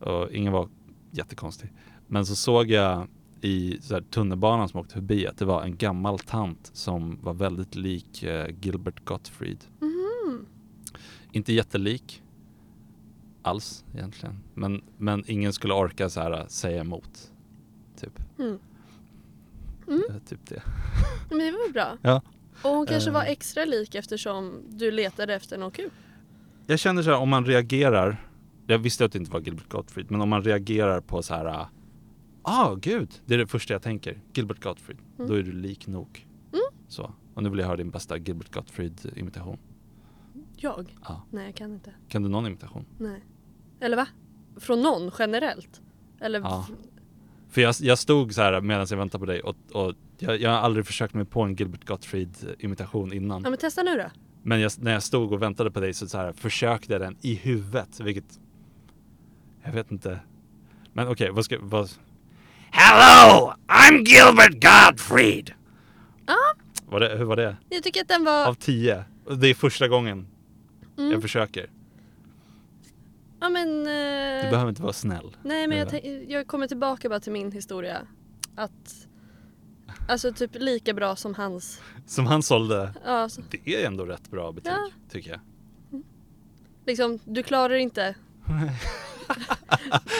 A: Och ingen var jättekonstig. Men så såg jag i så här, tunnelbanan som åkte förbi att det var en gammal tant som var väldigt lik eh, Gilbert Gottfried.
B: Mhm.
A: Inte jättelik alls egentligen. Men, men ingen skulle orka så här eh, säga emot. Typ.
B: Mm.
A: Eh, typ det.
B: Men det var väl bra.
A: Ja.
B: Och hon kanske
A: Eh.
B: var extra lik eftersom du letade efter något kul.
A: Jag känner så här om man reagerar. Jag visste att det inte var Gilbert Gottfried. Men om man reagerar på så här. eh, Ah gud, det är det första jag tänker. Gilbert Gottfried.
B: Mm.
A: Då är du lik nog. Så. Och nu vill jag höra din bästa Gilbert Gottfried imitation.
B: Jag?
A: Ja.
B: Nej, jag kan inte.
A: Kan du någon imitation?
B: Nej. Eller va? Från någon generellt? Eller?
A: Ja. För jag, jag stod så här medan jag väntade på dig och, och jag, jag har aldrig försökt mig på en Gilbert Gottfried imitation innan.
B: ja men testa nu då.
A: Men jag, när jag stod och väntade på dig så, så här, försökte jag den i huvudet, vilket... Jag vet inte. Men okej, vad ska... Vad... Hello! I'm Gilbert Gottfried!
B: Ja.
A: Var det, hur var det?
B: Jag tycker att den var...
A: Av tio? Och Det är första gången
B: Mm.
A: jag försöker.
B: Ja men...
A: Du
B: eh,
A: behöver inte vara snäll.
B: Nej men jag,
A: Eller?
B: tänk- jag kommer tillbaka bara till min historia. Att... Alltså typ lika bra som hans.
A: Som han sålde,
B: Ja, så,
A: det är ändå rätt bra betyg
B: Ja.
A: tycker jag.
B: liksom, du klarar inte.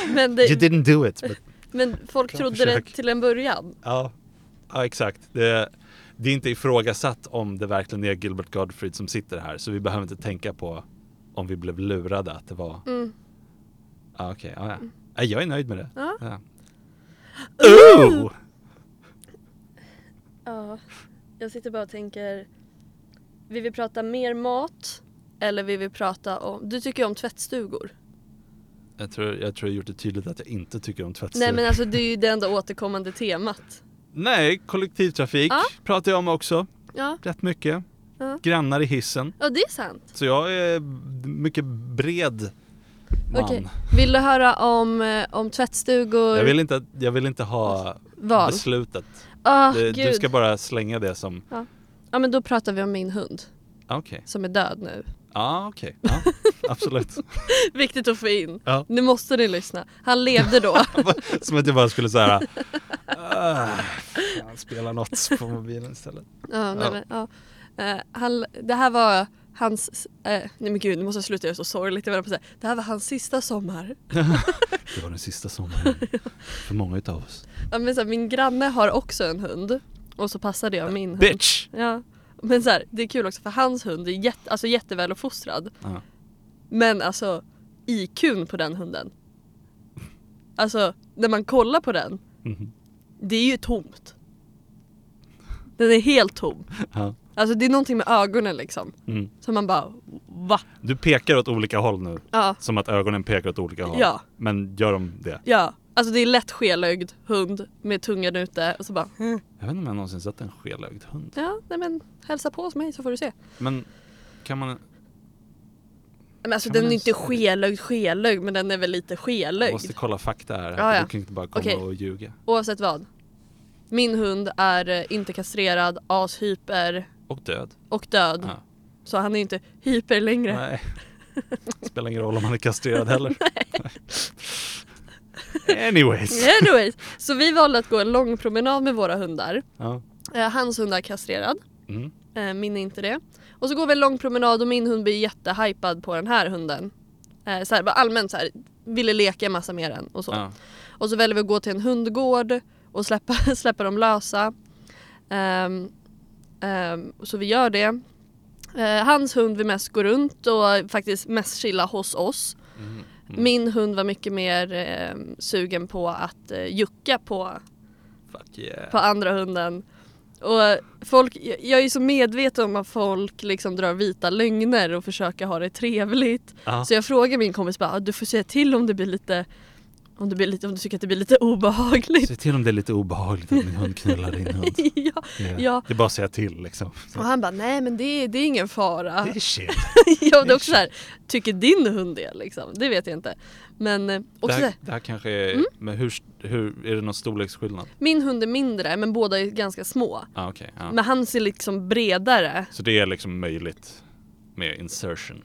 B: men, det,
A: You didn't do it. But...
B: men folk
A: Bra
B: trodde det
A: försök.
B: till en början.
A: Ja. ja, exakt. Det, det är inte ifrågasatt om det verkligen är Gilbert Gottfried som sitter här så vi behöver inte tänka på om vi blev lurade att det var...
B: Mm.
A: Ja, okej. ja, ja. Nej, Jag är nöjd med det.
B: Ja.
A: Ja.
B: Ooh!
A: Ooh!
B: Ja, jag sitter bara och tänker. Vill vi prata mer mat? Eller vill vi prata om... Du tycker ju om tvättstugor.
A: Jag tror jag tror jag gjort det tydligt att jag inte tycker om tvättstugor.
B: Nej men alltså det är ju det enda återkommande temat.
A: Nej, kollektivtrafik
B: Ja.
A: pratar jag om också
B: Ja,
A: rätt mycket.
B: Ja.
A: Grannar i hissen.
B: ja det är sant.
A: Så jag är mycket bred man.
B: Okej. Vill du höra om, eh, om tvättstugor?
A: Jag, vill inte, att- jag vill inte ha
B: Val.
A: beslutet.
B: Ah,
A: Det,
B: gud.
A: du ska bara slänga det som,
B: Ja men då pratar vi om min hund
A: ah, okej.
B: som är död nu.
A: Ja, okej. Ja, absolut.
B: Viktigt att få in.
A: Ja.
B: Nu måste ni lyssna. Han levde då.
A: Som att jag bara skulle säga ah, fan, spela något på mobilen istället.
B: ja, nej,
A: Ja.
B: Men, ja. Eh, han, det här var hans... eh, nej men gud nu måste jag sluta göra så sorgligt. Jag var på att säga. Det här var hans sista sommar.
A: Det var den sista sommaren för många utav oss.
B: Ja, men så här, min granne har också en hund. Och så passade jag min hund.
A: Bitch!
B: Ja. Men så här, det är kul också för hans hund är jätte, alltså jätteväl uppfostrad.
A: Ja.
B: Men alltså IQn på den hunden. Alltså när man kollar på den.
A: Mhm.
B: Det är ju tomt. Den är helt tom.
A: Ja.
B: Alltså det är någonting med ögonen liksom.
A: Mm.
B: Som man bara va?
A: Du pekar åt olika håll nu.
B: Ja,
A: Som att ögonen pekar åt olika håll.
B: Ja.
A: Men gör de det?
B: ja. Alltså det är lätt skelögd hund med tungan ute och så bara "Mm,
A: Jag vet inte om jag någonsin sett en skelögd hund.
B: ja nej men hälsa på hos mig så får du se.
A: Men kan man...
B: Men alltså
A: Kan
B: den
A: man
B: är inte
A: ens-
B: skelögd skelögd men den är väl lite
A: Jag
B: skelögd.
A: måste kolla fakta här.
B: Ja, ja.
A: Du kan inte bara komma
B: Okej.
A: och ljuga.
B: Oavsett vad. Min hund är eh, inte kastrerad, ashyper
A: Och död.
B: och död.
A: Ja.
B: Så han är inte hyper längre.
A: Nej. Spelar ingen roll om han är kastrerad heller. Anyways.
B: Anyways, så vi valde att gå en lång promenad med våra hundar.
A: Ja.
B: Eh, Hans hund är kastrerad,
A: Mm.
B: eh, min är inte det. Och så går vi en lång promenad och min hund blir jättehypad på den här hunden. Eh, Så här, bara allmänt så här, ville leka en massa med den och så.
A: Ja.
B: Och så väljer vi att gå till en hundgård och släppa, släppa dem lösa. Ehm, ehm, så vi gör det. Eh, hans hund vill mest gå runt och faktiskt mest chilla hos oss.
A: Mm.
B: Min hund var mycket mer ehm, sugen på att eh, jucka på,
A: Fuck yeah.
B: på andra hunden. Och eh, folk, jag- jag är ju så medveten om att folk liksom drar vita lögner och försöker ha det trevligt.
A: Ja.
B: Så jag frågar min kompis bara, "Ah, du får säga till om det blir lite om du, blir lite, om du tycker att det blir lite obehagligt.
A: Se till om det är lite obehagligt att min hund knullar din hund.
B: ja.
A: Det är,
B: Ja.
A: det är bara att säga till liksom.
B: Och han bara, nej men det, det är ingen fara.
A: Det är shit.
B: ja, men det är också så här, tycker din hund det liksom? Det vet jag inte. Men eh,
A: Det
B: också, så Mm.
A: här,
B: här,
A: det här kanske är, men hur, hur, är det någon storleksskillnad?
B: min hund är mindre men båda är ganska små.
A: Ah, okay, ja.
B: Men han ser liksom bredare.
A: Så det är liksom möjligt med insertion?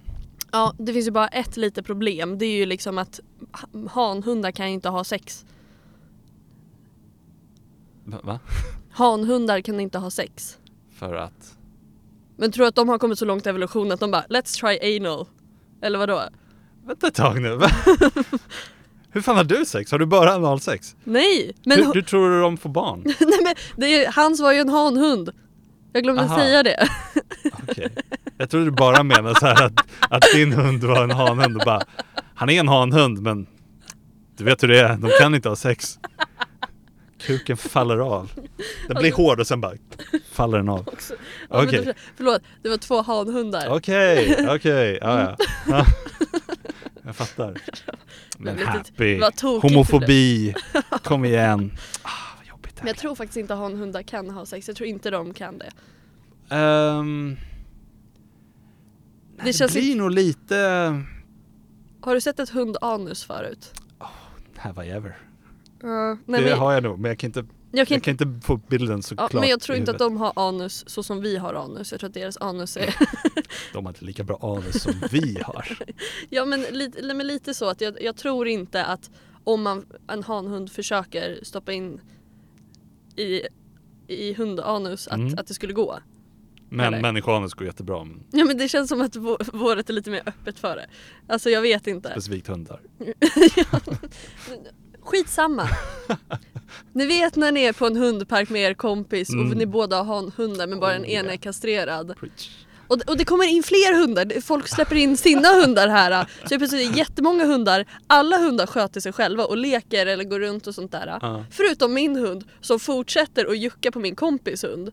B: Ja, det finns ju bara ett litet problem. Det är ju liksom att ha- hanhundar kan ju inte ha sex.
A: Va? va?
B: Hanhundar kan inte ha sex.
A: För att?
B: Men tror du att de har kommit så långt i evolutionen att de bara, let's try anal? Eller vadå?
A: Vänta ett tag nu. va? hur fan har du sex? Har du bara analsex?
B: Nej! Men,
A: Du, du tror de får barn?
B: nej, men det är, hans var ju en hanhund. Jag glömde
A: Aha.
B: säga det.
A: Okej. Jag trodde du bara menade så här att, att din hund var en hanhund och bara Han är en hanhund men Du vet hur det är, de kan inte ha sex Kuken faller av Den blir hård och sen bara faller den av
B: Ja, men
A: Okej.
B: då- Förlåt, det var två hanhundar.
A: Okej, okej, ja
B: Mm.
A: ja Ja. Jag fattar Men
B: Det var lite-
A: happy,
B: vad tokigt det
A: homofobi, kom igen ah, vad jobbigt det
B: Men
A: här.
B: jag tror faktiskt inte hanhundar kan ha sex. Jag tror inte de kan det.
A: Ehm,
B: det känns
A: Det blir
B: inte-
A: nog lite eh,
B: Har du sett ett hundanus förut?
A: Have I ever?
B: Uh, nej,
A: Det
B: men,
A: har jag nog men jag kan inte
B: Jag kan
A: Jag
B: inte,
A: kan inte få bilden så
B: ja,
A: klart
B: men jag
A: i
B: tror inte att
A: huvudet.
B: de har anus så som vi har anus. Jag tror att deras anus är...
A: De har inte lika bra anus som vi har.
B: ja men lite, nej, men lite så att jag, jag tror inte att om man, en hanhund försöker stoppa in i, i hundanus att,
A: Mm.
B: att det skulle gå. Eller?
A: Men människoanus går jättebra, men
B: Ja men det känns som att vå- våret är lite mer öppet för det. Alltså jag vet inte.
A: specifikt hundar.
B: Skitsamma. ni vet när ni är på en hundpark med er kompis och
A: Mm.
B: ni båda har en hundar men bara den
A: Oh,
B: ena
A: yeah.
B: är kastrerad.
A: Preach.
B: Och, och det kommer in fler hundar, Det- folk släpper in sina hundar här. Så det plötsligt är jättemånga hundar, alla hundar sköter sig själva och leker eller går runt och sånt där.
A: Ja.
B: Förutom min hund som fortsätter att jucka på min kompis hund.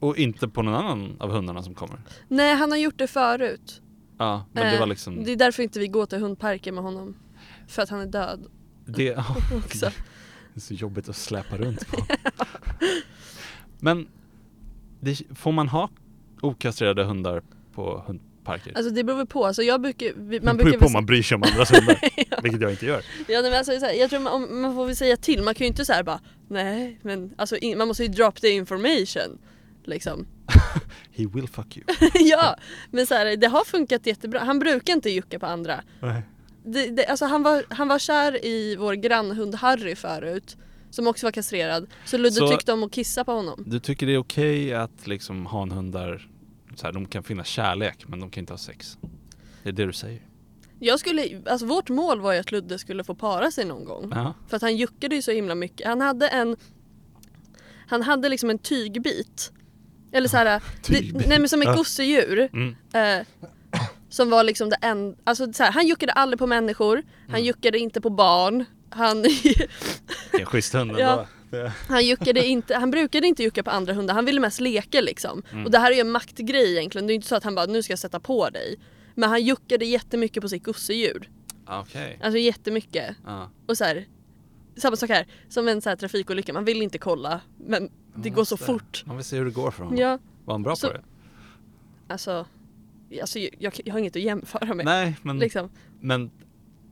A: Och inte på någon annan av hundarna som kommer.
B: Nej han har gjort det förut.
A: Ja, men det
B: Eh,
A: var liksom...
B: det är därför inte vi går till hundparken med honom. För att han är död
A: Det, ja,
B: också.
A: det är så jobbigt att släpa runt på. Men det, får man ha okastrerade hundar på hundparker?
B: Alltså det beror väl på, alltså jag brukar, vi- man
A: det beror
B: brukar
A: ju på
B: väl
A: om man bryr sig om andras hundar, vilket jag inte gör.
B: Ja nej, men alltså, så här, jag tror man, om- man får väl säga till, man kan ju inte säga bara nej men alltså in, man måste ju drop the information liksom.
A: He will fuck you.
B: ja men så här, det har funkat jättebra, han brukar inte jucka på andra.
A: Nej.
B: Det, det, alltså han var, han var kär i vår grannhund Harry förut som också var kastrerad så Ludde
A: Så-
B: tyckte om att kissa på honom.
A: Du tycker det är okej att liksom hanhundar, så här, de kan finna kärlek men de kan inte ha sex? Det är det du säger?
B: Jag skulle, alltså vårt mål var ju att Ludde skulle få para sig någon gång.
A: Ja.
B: För att han juckade ju så himla mycket. Han hade en Han hade liksom en tygbit. Eller såhär,
A: Tygbit.
B: nej men som ett
A: Ja.
B: gosedjur.
A: Mm.
B: Eh, som var liksom det enda, alltså så här, han juckade aldrig på människor, han
A: Mm.
B: juckade inte på barn. Han,
A: Det är en schysst hund ändå.
B: Ja.
A: Det-
B: han, juckade inte, han brukade inte jucka på andra hundar, han ville mest leka liksom.
A: Mm.
B: Och det här är ju en maktgrej egentligen, det är ju inte så att han bara nu ska jag sätta på dig. Men han juckade jättemycket på sitt gosedjur.
A: Ah, Okej.
B: Alltså jättemycket.
A: Ja.
B: Och så här, samma sak här, som en så här trafikolycka, man vill inte kolla men det går så
A: Just
B: fort.
A: Man Mm. vill se hur det går för honom.
B: Ja,
A: Var han bra
B: Så-
A: på det?
B: alltså, alltså jag, jag, jag har inget att jämföra med.
A: Nej, men,
B: Liksom.
A: men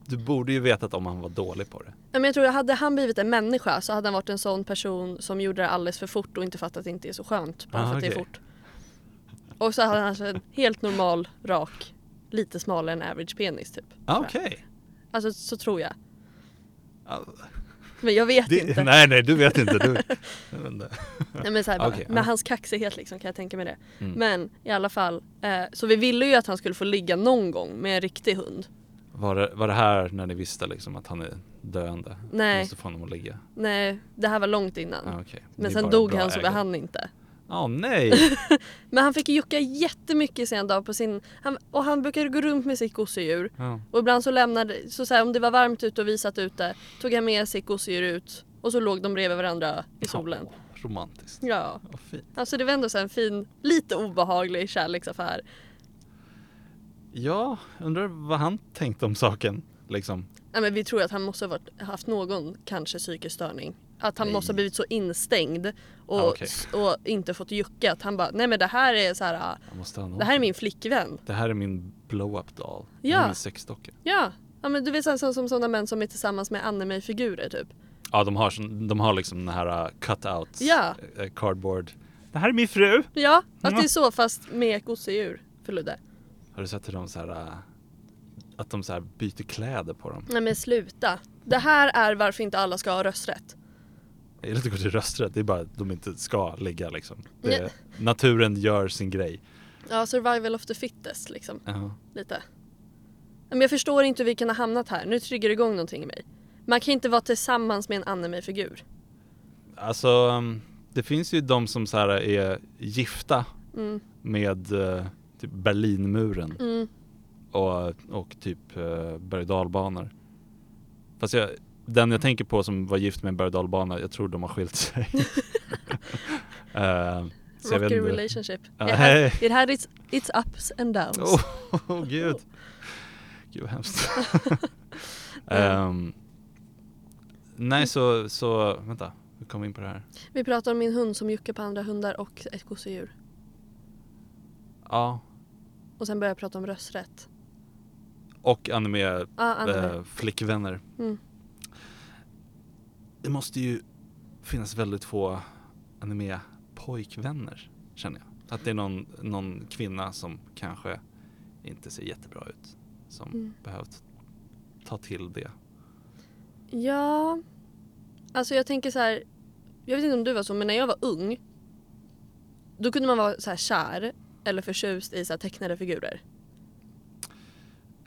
A: du borde ju vetat om han var dålig på det.
B: Nej, Men jag tror att hade han blivit en människa så hade han varit en sån person som gjorde det alldeles för fort och inte fattat att det inte är så skönt bara
A: Ah,
B: för att det är
A: okej.
B: fort. Och så hade han alltså en helt normal, rak, lite smalare än average penis typ.
A: Ah, Okej.
B: Alltså så tror jag.
A: Ja,
B: Men jag vet
A: det-
B: inte.
A: Nej, nej, du vet inte. Du, jag vet inte.
B: Nej, men så här bara,
A: Okej,
B: med
A: ja.
B: hans kaxighet liksom kan jag tänka mig det.
A: Mm.
B: Men i alla fall, eh, så vi ville ju att han skulle få ligga någon gång med en riktig hund.
A: Var, det, var det här när ni visste liksom att han är döende?
B: Nej.
A: Ni måste få honom att ligga?
B: Nej, det här var långt innan.
A: Ah, okay.
B: Men sen dog han så var han inte.
A: Ja, nej!
B: Men han fick jucka jättemycket sen dag på sin... Han, och han brukade gå runt med sitt gosedjur.
A: Ja.
B: Och ibland så lämnade... Så, så här, om det var varmt ute och vi satt ute tog han med sitt gosedjur ut och så låg de bredvid varandra i solen.
A: Ja, romantiskt.
B: Ja.
A: Vad fint.
B: Alltså det var ändå så här en fin, lite obehaglig kärleksaffär.
A: Ja, undrar vad han tänkte om saken. Liksom.
B: Nej, men vi tror att han måste ha varit, haft någon kanske psykisk störning. Att han
A: Nej.
B: måste ha blivit så instängd och,
A: Ah, okej.
B: och inte fått jucka. Att han bara, nej men det här är så här, ah,
A: Jag måste ha någon.
B: det här är min flickvän.
A: det här är min blow-up doll. Det
B: Ja.
A: är Min sexdocka.
B: Ja, ja men du vet så här, så, som sådana män som är tillsammans med anime-figurer typ.
A: Ja, de har, sån- de har liksom den här uh, cutouts,
B: Ja.
A: eh, cardboard. Det här är min fru!
B: Ja, att
A: Mm.
B: det är så fast med gosedjur för Ludde.
A: Har du sett hur de så här, äh, att de så här byter kläder på dem?
B: Nej men sluta. Det här är varför inte alla ska ha rösträtt.
A: Jag gillar att det går till rösträtt, det är bara att de inte ska ligga liksom.
B: Nej.
A: Det, naturen gör sin grej.
B: Ja, survival of the fittest liksom.
A: Ja.
B: Lite. Men jag förstår inte hur vi kan ha hamnat här. Nu triggar det igång någonting i mig. Man kan inte vara tillsammans med en anime-figur.
A: Alltså, um, det finns ju de som så här uh, är gifta med eh, typ Berlinmuren
B: Mm.
A: och, och typ eh, berg och dalbanor. Fast jag, den jag tänker på som var gift med en berg och dalbana, jag tror de har skilt sig. Eh, så jag vet
B: Rocky
A: inte.
B: relationship.
A: Ja,
B: It had,
A: hej.
B: it had its, its ups and downs.
A: Åh oh, gud. Gud vad hemskt. Ehm, nej så, så, vänta. Hur kom vi in på det här?
B: Vi pratar om min hund som juckar på andra hundar och ett gosedjur.
A: Ja,
B: Och sen börjar jag prata om rösträtt.
A: och anime,
B: Ja, anime.
A: eh, flickvänner.
B: Mm.
A: Det måste ju finnas väldigt få anime-pojkvänner, känner jag. Att det är någon, någon kvinna som kanske inte ser jättebra ut som
B: Mm.
A: behövt ta till det.
B: Ja, alltså jag tänker så här. Jag vet inte om du var så, men när jag var ung då kunde man vara så här kär eller förtjust i så här tecknade figurer.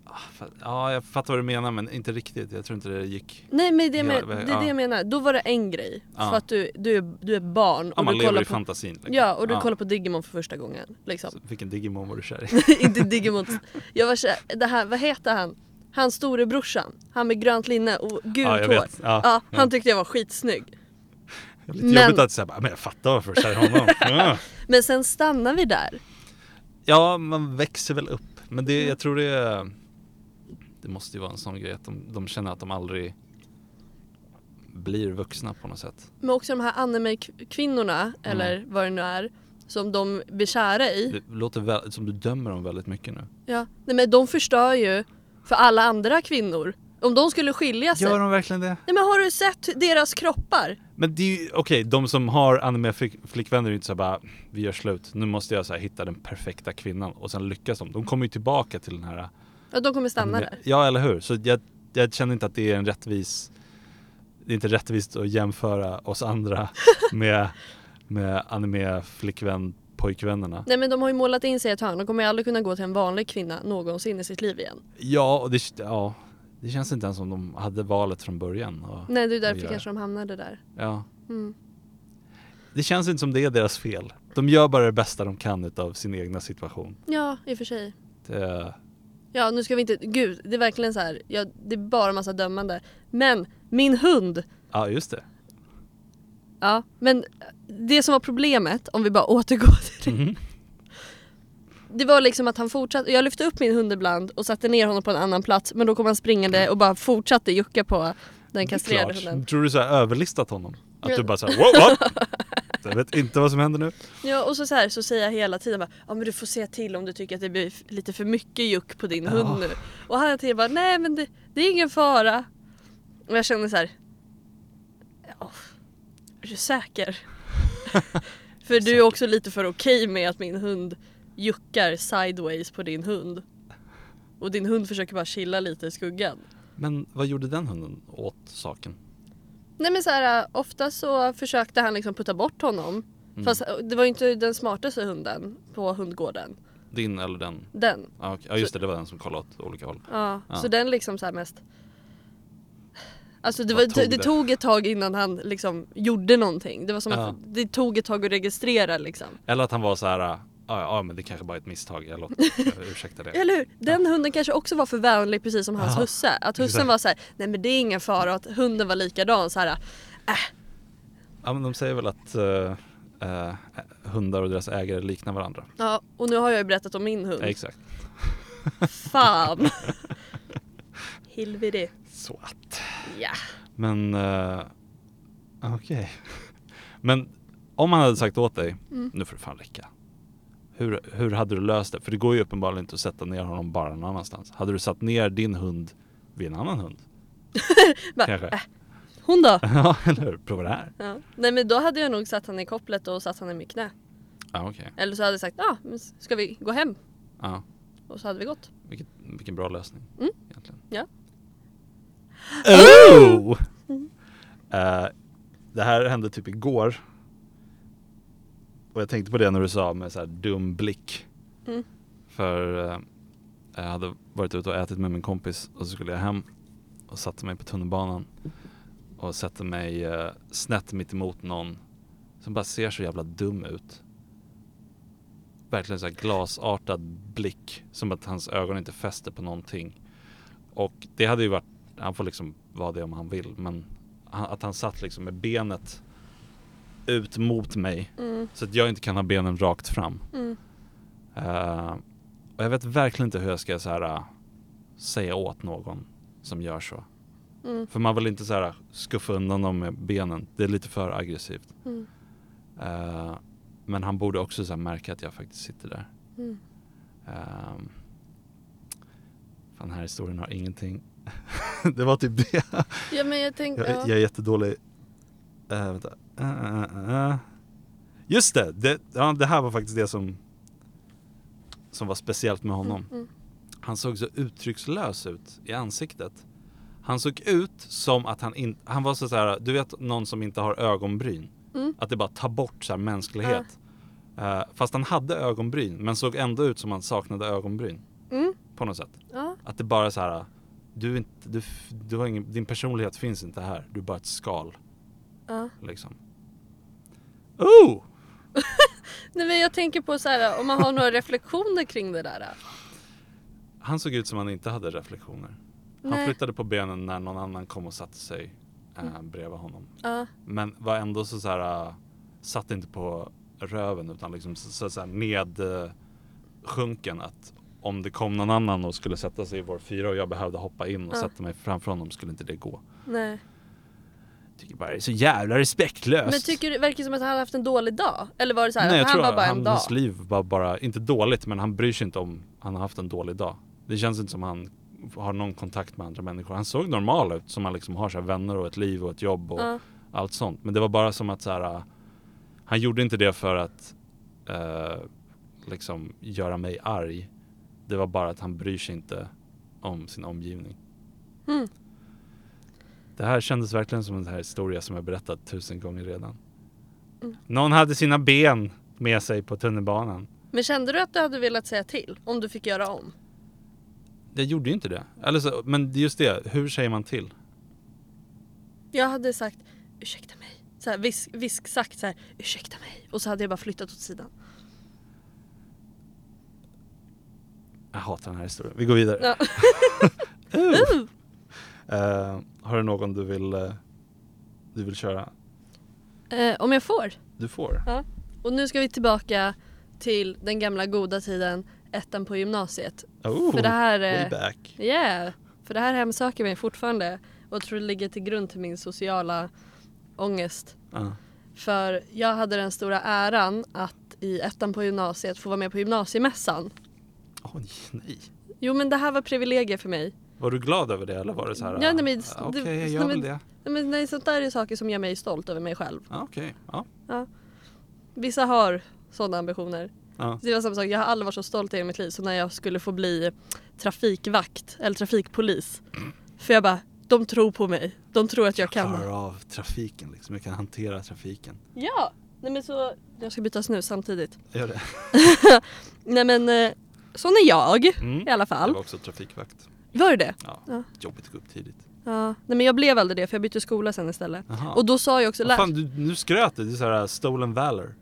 A: Ah, fa- Ja, jag fattar vad du menar men inte riktigt. Jag tror inte det gick.
B: Nej men det,
A: Ja,
B: med,
A: det-
B: det är
A: ja.
B: det jag menar. Då var det en grej.
A: Ja.
B: För att du, du, är- du är barn
A: Ja,
B: och
A: man
B: du
A: lever
B: kollar
A: i
B: på,
A: fantasin. liksom.
B: ja, och du kollar på Digimon för första gången. Liksom.
A: Så Vilken Digimon var du kär i?
B: inte Digimon. Jag var kär, det här, vad heter han? Hans storebrorsan. Han med grönt linne och gult
A: ja, jag
B: hår.
A: vet. Ja,
B: Ja, han tyckte jag var skitsnygg.
A: Det är Lite
B: Men-
A: jobbigt att säga bara, men jag fattar varför du är kär i honom. Ja.
B: Men sen stannar vi där.
A: Ja, man växer väl upp. Men det, jag tror det är... Det måste ju vara en sån grej att de, de känner att de aldrig blir vuxna på något sätt.
B: Men också de här anime-kvinnorna,
A: Mm.
B: eller vad det nu är, som de blir kära i.
A: Det låter väl, som du dömer dem väldigt mycket nu.
B: Ja. Nej men de förstör ju för alla andra kvinnor. Om de skulle skilja sig.
A: Gör de verkligen det?
B: Nej men har du sett deras kroppar?
A: Men det är ju, okej, de som har anime-flickvänner är ju inte så här bara, vi gör slut, nu måste jag så här hitta den perfekta kvinnan och sen lyckas de. De kommer ju tillbaka till den här...
B: Ja, de kommer stanna
A: anime-
B: där.
A: Ja, eller hur? Så jag, jag känner inte att det är en rättvis... Det är inte rättvist att jämföra oss andra med, med anime-flickvän-pojkvännerna.
B: Nej men de har ju målat in sig i ett hörn. De kommer ju aldrig kunna gå till en vanlig kvinna någonsin i sitt liv igen.
A: Ja, och det, ja, det känns inte ens som de hade valet från början. Och,
B: Nej det är
A: Och
B: därför
A: göra.
B: kanske de hamnade där.
A: ja.
B: Mm.
A: Det känns inte som det är deras fel. De gör bara det bästa de kan utav sin egna situation.
B: Ja, i och för sig.
A: Det,
B: Ja, nu ska vi inte... Gud, det är verkligen så här. Ja, det är bara massa dömande. Men, min hund!
A: ja, just det.
B: Ja, men det som var problemet, om vi bara återgår till det.
A: Mhm.
B: Det var liksom att han fortsatte, jag lyfte upp min hund ibland och satte ner honom på en annan plats men då kom han springande och bara fortsatte jucka på den kastrerade
A: Klart.
B: hunden.
A: Tror du så här överlistat honom? Att
B: Ja.
A: du bara såhär wow, what? Jag vet inte vad som händer nu.
B: Ja och så, så, här, så säger jag hela tiden bara, ja men du får se till om du tycker att det blir f- lite för mycket juck på din hund nu. Och han till bara, nej men det, det är ingen fara. Och jag känner så här, ja, är du säker? för du är också lite för okej med att min hund juckar sideways på din hund. Och din hund försöker bara chilla lite i skuggan.
A: Men vad gjorde den hunden åt saken?
B: Nej men så här, ofta så försökte han liksom putta bort honom. Fast eh, det var ju inte den smartaste hunden på hundgården.
A: Din eller den?
B: Den.
A: Ja, okej. Ja just det, det var den som kollade åt olika håll.
B: Ja,
A: Ja.
B: så den liksom så här mest... Alltså det,
A: Bara
B: var,
A: tog
B: det, det
A: det.
B: tog ett tag innan han liksom gjorde någonting. Det var som
A: Ja.
B: att det tog ett tag att registrera liksom.
A: Eller att han var så här, ja ja men det kanske bara är ett misstag, jag låter, jag ursäktar det.
B: Eller hur? Den hunden kanske också var för vänlig precis som hans
A: Ja,
B: husse. Att hussen
A: exakt.
B: var så här, nej men det är ingen fara. Och att hunden var likadan så här. "Äh,
A: Ja men de säger väl att eh, eh, hundar och deras ägare liknar varandra.
B: Ja, och nu har jag ju berättat om min hund.
A: Exakt.
B: Fan! Hilviri.
A: Så att.
B: Ja.
A: Men eh, okej. Men om han hade sagt åt dig, nu får det fan räcka. Hur, hur hade du löst det? För det går ju uppenbarligen inte att sätta ner honom bara någon annanstans. Hade du satt ner din hund vid en annan hund?
B: Bara,
A: Kanske?
B: Hon då?
A: Ja, eller hur? Prova det här.
B: Ja. Nej men då hade jag nog satt han i kopplet och satt han i mitt knä.
A: Ja, okej.
B: Eller så hade jag sagt, ja men ska vi gå hem?
A: Ja,
B: Och så hade vi gått.
A: vilket, vilken bra lösning.
B: Mm.
A: Egentligen.
B: Ja.
A: Oh!
B: Mm.
A: Eh, det här hände typ igår. Och jag tänkte på det när du sa med så här dum blick.
B: Mm.
A: För eh, jag hade varit ute och ätit med min kompis och så skulle jag hem och satte mig på tunnelbanan och satte mig eh, snett mitt emot någon som bara ser så jävla dum ut. Verkligen så här glasartad blick som att hans ögon inte fäster på någonting. Och det hade ju varit, han får liksom vara det om han vill men han, att han satt liksom med benet ut mot mig
B: Mm.
A: så att jag inte kan ha benen rakt fram.
B: Mm.
A: Eh, och jag vet verkligen inte hur jag ska så här, eh, säga åt någon som gör så.
B: Mm.
A: För man vill inte så här eh, skuffa undan dem med benen. Det är lite för aggressivt.
B: Mm.
A: Eh, men han borde också så här märka att jag faktiskt sitter där.
B: Mm.
A: Ehm, fan, den här historien har ingenting. det var typ det.
B: Ja men jag tänkte,
A: Jag,
B: ja.
A: jag är jättedålig Eh, vänta. Eh, eh, eh. Just det! Det, ja, det här var faktiskt det som, som var speciellt med honom.
B: Mm, mm.
A: Han såg så uttryckslös ut i ansiktet. Han såg ut som att han inte... Han var så så här, du vet någon som inte har ögonbryn?
B: Mm.
A: Att det bara tar bort så här mänsklighet. Eh, fast han hade ögonbryn, men såg ändå ut som han saknade ögonbryn.
B: Mm.
A: På något sätt.
B: Ja.
A: Att det bara är så här, du, är inte, du, f- du har ingen, din personlighet finns inte här. Du är bara ett skal.
B: Ja.
A: Liksom. Oh!
B: Nej men jag tänker på så här om man har några reflektioner kring det där. äh.
A: Han såg ut som han inte hade reflektioner. Han
B: Nej.
A: flyttade på benen när någon annan kom och satte sig eh,
B: Mm.
A: bredvid honom.
B: Ja.
A: Men var ändå så, så här, eh, satt inte på röven utan liksom så, så, så här med eh, sjunken att om det kom någon annan och skulle sätta sig i vår fyra och jag behövde hoppa in och
B: Ja.
A: sätta mig framför honom skulle inte det gå.
B: Nej.
A: Tycker bara det är så jävla respektlöst.
B: Men tycker du, verkar det som att han hade haft en dålig dag? Eller var det så här,
A: Alltså- Nej, jag
B: att han
A: tror
B: var bara en
A: han,
B: dag?
A: hans liv var bara, inte dåligt men han bryr sig inte om han har haft en dålig dag. Det känns inte som han har någon kontakt med andra människor. Han såg normal ut som han liksom har så här vänner och ett liv och ett jobb och
B: Ja.
A: allt sånt. Men det var bara som att så här, äh, han gjorde inte det för att eh, liksom göra mig arg. Det var bara att han bryr sig inte om sin omgivning.
B: Mm.
A: Det här kändes verkligen som en sån här historia som jag berättat tusen gånger redan.
B: Mm.
A: Någon hade sina ben med sig på tunnelbanan.
B: Men kände du att du hade velat säga till? Om du fick göra om?
A: Det gjorde ju inte det. Eller så, men just det, hur säger man till?
B: Jag hade sagt ursäkta mig. Så här, visk, visk sagt så här ursäkta mig. Och så hade jag bara flyttat åt sidan.
A: Jag hatar den här historien. Vi går vidare.
B: Ja.
A: Uh. Eh, har du någon du vill, eh, du vill köra?
B: Eh, om jag får.
A: Du får.
B: Och nu ska vi tillbaka till den gamla goda tiden, ettan på gymnasiet.
A: Oh,
B: För det här...
A: way
B: eh,
A: back.
B: Yeah! För det här hemsöker mig fortfarande och tror det ligger till grund till min sociala ångest.
A: Ja.
B: För jag hade den stora äran att i ettan på gymnasiet få vara med på gymnasiemässan.
A: Oj, nej.
B: Jo men det här var privilegier för mig.
A: Var du glad över det eller var det så här?
B: Ja, nej, men-
A: eh, Okej,
B: det-
A: jag
B: nej,
A: gör
B: men-
A: väl det.
B: Nej, Men nej, sånt där är saker som gör mig stolt över mig själv.
A: Ja, Okej, ja.
B: Vissa har sådana ambitioner.
A: ja.
B: Det var samma sak, jag har aldrig varit så stolt i hela mitt liv så när jag skulle få bli trafikvakt eller trafikpolis. För jag bara, de tror på mig. De tror att jag kan.
A: klarar av trafiken liksom. Jag kan hantera trafiken.
B: Ja! Nej men så, jag ska byta snus samtidigt.
A: Jag Gör det.
B: Nej men, eh, sån är jag
A: Mm.
B: i alla
A: Jag
B: fall.
A: var också trafikvakt.
B: Var du det?
A: Ja.
B: Ja.
A: Jobbigt att gå upp tidigt.
B: Ja. Nej men jag blev aldrig det för jag bytte skola sen istället.
A: Jaha.
B: Och då sa jag också,
A: Vad
B: lä-
A: fan, du, nu skröt du. Det är så här eh, stolen valor.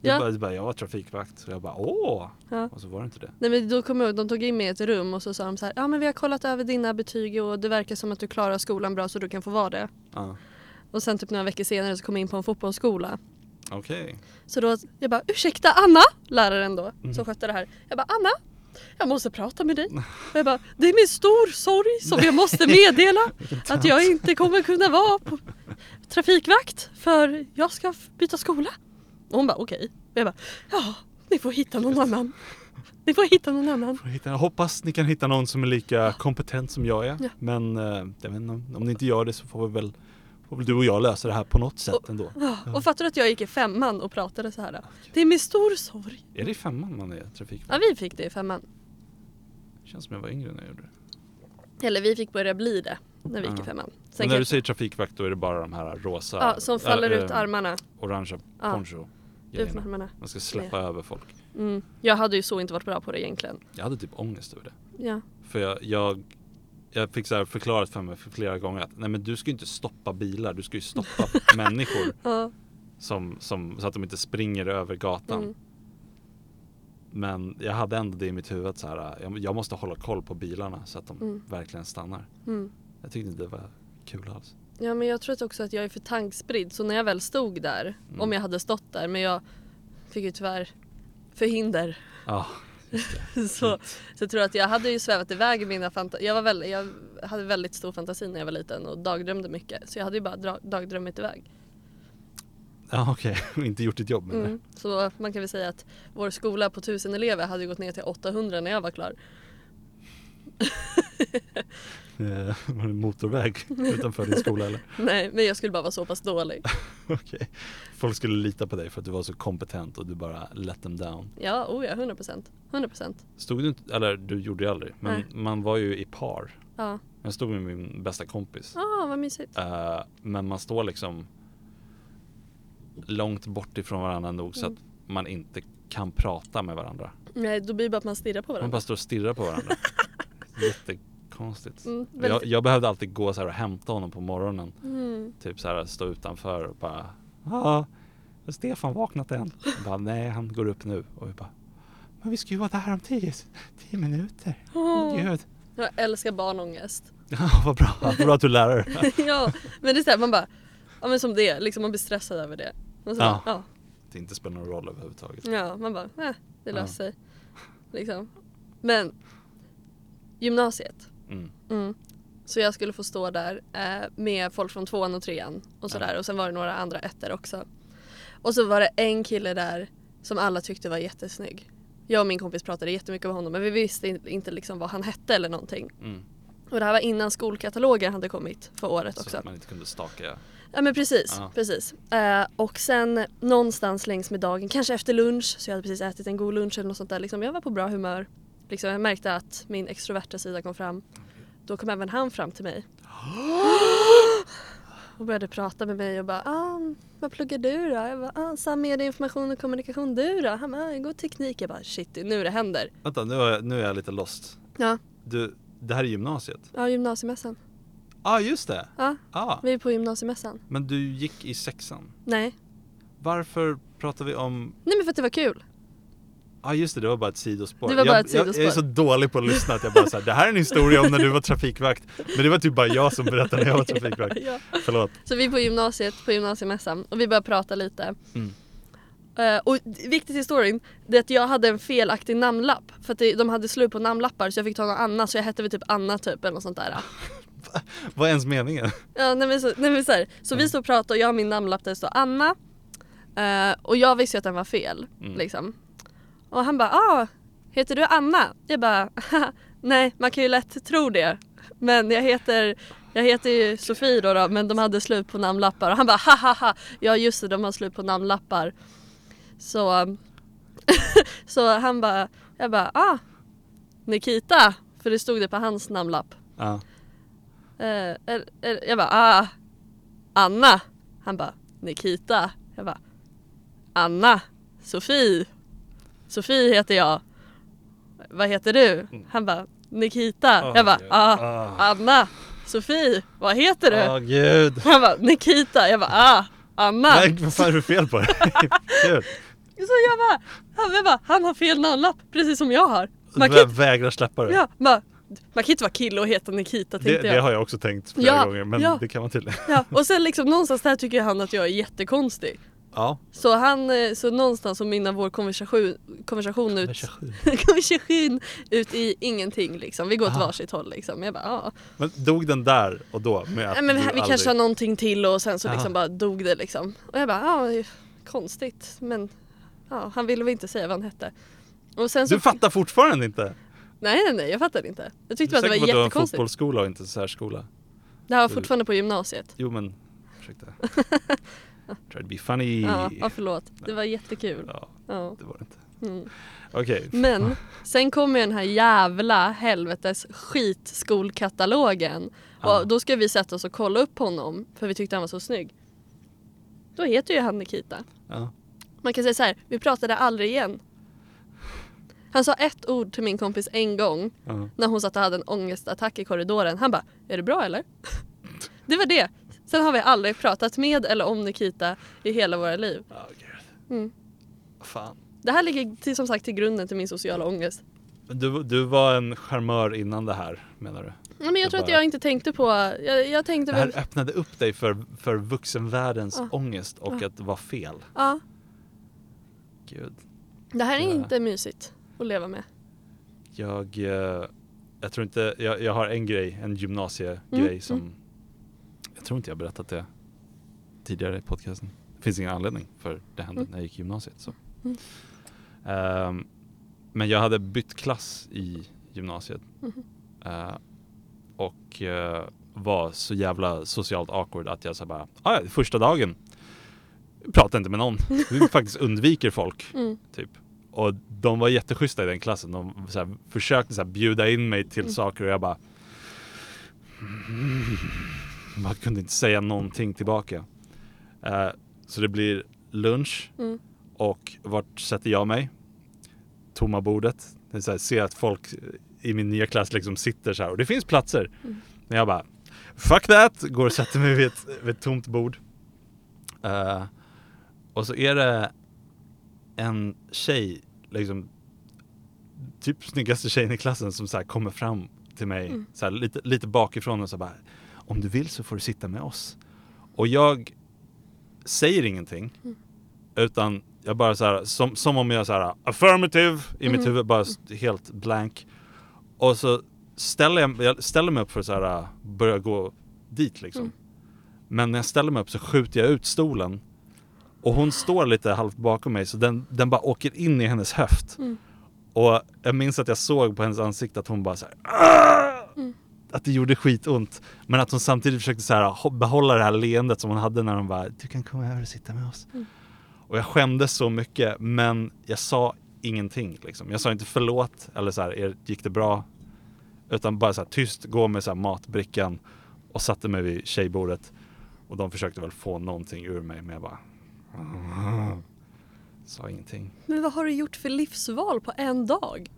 A: Du
B: Ja.
A: bara, du bara, jag var trafikvakt. Så jag bara, åh!
B: Ja.
A: Och så var det inte det.
B: Nej men då kom jag ihåg, de tog in mig i ett rum och så sa de så här, ja men vi har kollat över dina betyg och det verkar som att du klarar skolan bra så du kan få vara det.
A: Ja.
B: Och sen typ några veckor senare så kom jag in på en fotbollsskola.
A: Okej.
B: Så då, jag bara ursäkta Anna, läraren då
A: Mm.
B: som skötte det här. Jag bara Anna, jag måste prata med dig. Och jag bara, det är min stor sorg som jag måste meddela att jag inte kommer kunna vara på trafikvakt för jag ska f- byta skola. Och hon bara okej. Och jag bara, ja ni får hitta någon annan. Ni får hitta någon annan.
A: Får hitta- Jag hoppas ni kan hitta någon som är lika kompetent som jag är.
B: Ja.
A: Men eh, jag vet inte, om, om ni inte gör det så får vi väl, får väl du och jag lösa det här på något sätt
B: Och-
A: ändå.
B: Ja, Och fattar du att jag gick i femman och pratade så här. Det är min stor sorg.
A: Är det i femman man är trafikvakt?
B: Ja vi fick det i femman.
A: Känns som jag var yngre när jag gjorde det.
B: Eller vi fick börja bli det när vi gick
A: Ja.
B: i femman.
A: Men
B: Sen
A: när du
B: kanske,
A: säger trafikvakt då är det bara de här rosa,
B: ja, som faller
A: äh,
B: ut
A: äh,
B: armarna.
A: orangea
B: Ja.
A: poncho
B: Ut med
A: grejerna.
B: armarna.
A: Man ska släppa över folk.
B: Mm. Jag hade ju så inte varit bra på det egentligen.
A: Jag hade typ ångest över det.
B: Ja.
A: För jag, jag, jag fick så här förklarat för mig för flera gånger att nej men du ska ju inte stoppa bilar, du ska ju stoppa människor
B: Ja.
A: som, som, så att de inte springer över gatan.
B: Mm.
A: Men jag hade ändå det i mitt huvud så här, jag, jag måste hålla koll på bilarna så att de
B: Mm.
A: verkligen stannar.
B: Mm.
A: Jag tyckte inte det var kul alls.
B: ja men jag tror att också att jag är för tankspridd så när jag väl stod där,
A: Mm.
B: om jag hade stått där, men jag fick ju tyvärr förhinder.
A: Ja,
B: så, så jag tror att jag hade ju svävat iväg i mina fantasier. Jag, var väl- jag hade väldigt stor fantasi när jag var liten och dagdrömde mycket. Så jag hade ju bara dra- dagdrömmit iväg.
A: ja okej, Och inte gjort ditt jobb med
B: Mm. Så man kan väl säga att vår skola på 1000 elever hade ju gått ner till 800 när jag var klar.
A: eh, var det motorväg utanför din skola eller?
B: Nej, men jag skulle bara vara så pass dålig.
A: Okej. Folk skulle lita på dig för att du var så kompetent och du bara let them down.
B: Ja, oh ja, 100%. 100%.
A: Stod du inte, eller du gjorde ju aldrig, men
B: Nej.
A: man var ju i par.
B: Ja.
A: Jag stod med min bästa kompis.
B: Ah, vad mysigt.
A: Eh, men man står liksom långt bort ifrån varandra nog så att man inte kan prata med varandra.
B: Nej, då blir det bara att man stirrar på
A: Man
B: varandra.
A: bara står och stirrar på varandra. Jättekonstigt.
B: Mm,
A: Jag,
B: väldigt-
A: jag behövde alltid gå så här och hämta honom på morgonen.
B: Mm.
A: Typ så här stå utanför och bara ah, har Stefan vaknat än? Jag bara, Nej han går upp nu och vi bara Men vi ska ju vara där om tio, tio minuter. Åh
B: Åh.
A: Gud.
B: Jag älskar barnångest.
A: Ja, vad bra, vad bra att du lär dig.
B: ja, men det är såhär man bara, ja men som det, liksom man blir stressad över det. Och så
A: Ja.
B: Bara, ja.
A: Det inte spelar någon roll överhuvudtaget.
B: Ja, man bara, eh, det
A: Ja.
B: löser sig. Liksom. Men gymnasiet.
A: Mm.
B: Mm. Så jag skulle få stå där eh, med folk från tvåan och trean och
A: Ja.
B: sådär och sen var det några andra ettor också. Och så var det en kille där som alla tyckte var jättesnygg. Jag och min kompis pratade jättemycket om honom men vi visste in- inte liksom vad han hette eller någonting.
A: Mm.
B: Och det här var innan skolkatalogen hade kommit för året
A: Så
B: också.
A: att man inte kunde staka.
B: Ja men precis,
A: Ja.
B: precis. Eh, och sen någonstans längs med dagen, kanske efter lunch, så jag hade precis ätit en god lunch eller något sånt där. Liksom, jag var på bra humör. Liksom, jag märkte att min extroverta sida kom fram. Då kom även han fram till mig. Och började prata med mig och bara ah, “Vad pluggar du då?” Jag bara ah, “Sam, media, information och kommunikation. Du då?” Han bara ah, “Jag går teknik.” Jag bara “Shit, det är nu det händer.”
A: Vänta, nu är, jag, nu är jag lite lost.
B: Ja,
A: Du, det här är gymnasiet?
B: ja gymnasiemässan.
A: Ja, ah, just det!
B: Ja,
A: Ah,
B: vi är på gymnasiemässan.
A: men du gick i sexan.
B: Nej.
A: Varför pratar vi om...
B: Nej men för att det var kul.
A: Ja ah, just det, det var bara ett sidospår.
B: Det var bara
A: jag,
B: ett
A: Jag, jag är så
B: sidospår.
A: dålig på att lyssna att jag bara såhär, det här är en historia om när du var trafikvakt. Men det var typ bara jag som berättade när jag var trafikvakt.
B: ja.
A: Förlåt.
B: Så vi är på gymnasiet, på gymnasiemässan och vi börjar prata lite.
A: Mm.
B: Eh, och viktigt i historien, det är att jag hade en felaktig namnlapp. För att det, de hade slut på namnlappar så jag fick ta någon annan så jag hette väl typ Anna typ eller något sånt där.
A: Vad är ens meningen?
B: Ja, nej, men så, nej, men så, här, så vi står och pratar och jag har min namnlapp där det står Anna. Eh, och jag visste ju att den var fel
A: Mm.
B: liksom. Och han bara ah, heter du Anna? Jag bara "Haha, nej man kan ju lätt tro det. Men jag heter, jag heter ju Sofie då, då men de hade slut på namnlappar och han bara ha ha ha ja just det de har slut på namnlappar. Så, um, så han bara, jag bara ah Nikita för det stod det på hans namnlapp.
A: Ja.
B: Eh, er, er, jag bara ah, Anna. Han bara Nikita. Jag bara Anna. Sofie. Sofie heter jag. Vad heter du? Han bara Nikita. jag bara ah,
A: Mm. ah.
B: Anna. Sofie. Vad heter du?
A: Åh gud.
B: Han bara Nikita. Jag bara ah, Anna.
A: Nej, vad fan är det fel på dig? Gud.
B: Så jag bara, han, jag bara, han har fel namnlapp precis som jag har. Man kan
A: Vä-
B: inte,
A: vägrar släppa det.
B: ja, bara, man kan inte vara kille och heta Nikita
A: det,
B: tänkte
A: det
B: jag.
A: har jag också tänkt flera
B: Ja,
A: gånger men
B: ja.
A: det kan man tydligen.
B: Ja, och sen liksom någonstans där tycker han att jag är jättekonstig.
A: Ja.
B: Så han, eh, så någonstans så mynnar vår konversation, konversation ut konversation ut i ingenting liksom. Vi går åt
A: Aha.
B: varsitt håll liksom. Jag bara, ja.
A: Men dog den där och då? Med att
B: Nej, men
A: du
B: vi vi
A: aldrig-
B: kanske har någonting till och sen så liksom
A: Aha.
B: bara dog det liksom. Och jag bara, ja, det är konstigt. Men ja, han ville väl inte säga vad han hette. Och sen så,
A: Du fattar fortfarande inte?
B: nej, nej, nej, jag fattade inte. Jag tyckte
A: Du är
B: bara att det
A: säker på att
B: var
A: du har en
B: jättekonstigt.
A: fotbollsskola och inte en särskola?
B: det här var fortfarande på gymnasiet.
A: Jo men, ursäkta. Try to be funny.
B: Ja, ja, förlåt. Det var jättekul.
A: Ja,
B: Ja.
A: det var det inte.
B: Mm.
A: Okej.
B: Men sen kommer ju den här jävla helvetes skitskolkatalogen.
A: Ja.
B: Och då ska vi sätta oss och kolla upp honom för vi tyckte han var så snygg. Då heter ju han Nikita.
A: Ja.
B: Man kan säga så här, vi pratade aldrig igen. Han sa ett ord till min kompis en gång
A: Ja.
B: när hon satt och hade en ångestattack i korridoren. Han bara, är det bra eller? Det var det. Sen har vi aldrig pratat med eller om Nikita i hela våra liv.
A: Ja, gud.
B: Mm.
A: Fan.
B: Det här ligger till, som sagt till grunden till min sociala ångest.
A: Du, du var en charmör innan det här menar du?
B: Ja, men jag
A: Jag
B: tror att
A: bara-
B: jag inte tänkte på, jag, jag tänkte
A: Det här
B: väl,
A: öppnade upp dig för, för vuxenvärldens
B: Ja.
A: ångest och
B: Ja.
A: att vara fel.
B: ja,
A: Gud.
B: det här är
A: Ja.
B: inte mysigt att leva med.
A: Jag, eh, jag tror inte, jag, jag har en grej, en gymnasiegrej
B: Mm,
A: som Jag tror inte jag berättat det tidigare i podcasten. Det finns ingen anledning för det hände
B: Mm.
A: när jag gick i gymnasiet. Så.
B: Mm.
A: Ehm, men jag hade bytt klass i gymnasiet.
B: Mhm.
A: Eh, och eh, var så jävla socialt awkward att jag så här bara, "Ah, ja, första dagen pratar inte med någon. Vi faktiskt undviker folk.
B: Mm.
A: Typ. Och de var jätteschyssta i den klassen. De så här, försökte så här, bjuda in mig till saker och jag bara... Man kunde inte säga någonting tillbaka. Eh, så det blir lunch.
B: Mm.
A: Och vart sätter jag mig? Tomma bordet. Det är så här, ser att folk i min nya klass liksom sitter så här och det finns platser. Men jag bara, fuck that! Går och sätter mig vid ett, vid ett tomt bord. Eh, och så är det en tjej, liksom typ snyggaste tjejen i klassen som så här kommer fram till mig så här, lite, lite bakifrån och så bara Om du vill så får du sitta med oss. Och jag säger ingenting utan jag bara så här som, som om jag så här affirmative i mitt huvud bara s- helt blank. Och så ställer jag, jag ställer mig upp för att så här börja gå dit liksom. Men när jag ställer mig upp så skjuter jag ut stolen och hon står lite halvt bakom mig så den, den bara åker in i hennes höft. Och jag minns att jag såg på hennes ansikte att hon bara så här, "Ah!" Att det gjorde skitont. Men att hon samtidigt försökte så här, ho- behålla det här leendet som hon hade när hon bara Du kan komma över och sitta med oss. Och jag skämdes så mycket men jag sa ingenting. Liksom. Jag sa inte förlåt eller så här, "Er- gick det bra? Utan bara så här, tyst, gå med så här, matbrickan och satte mig vid tjejbordet. Och de försökte väl få någonting ur mig men jag bara Sa ingenting.
B: Men vad har du gjort för livsval på en dag?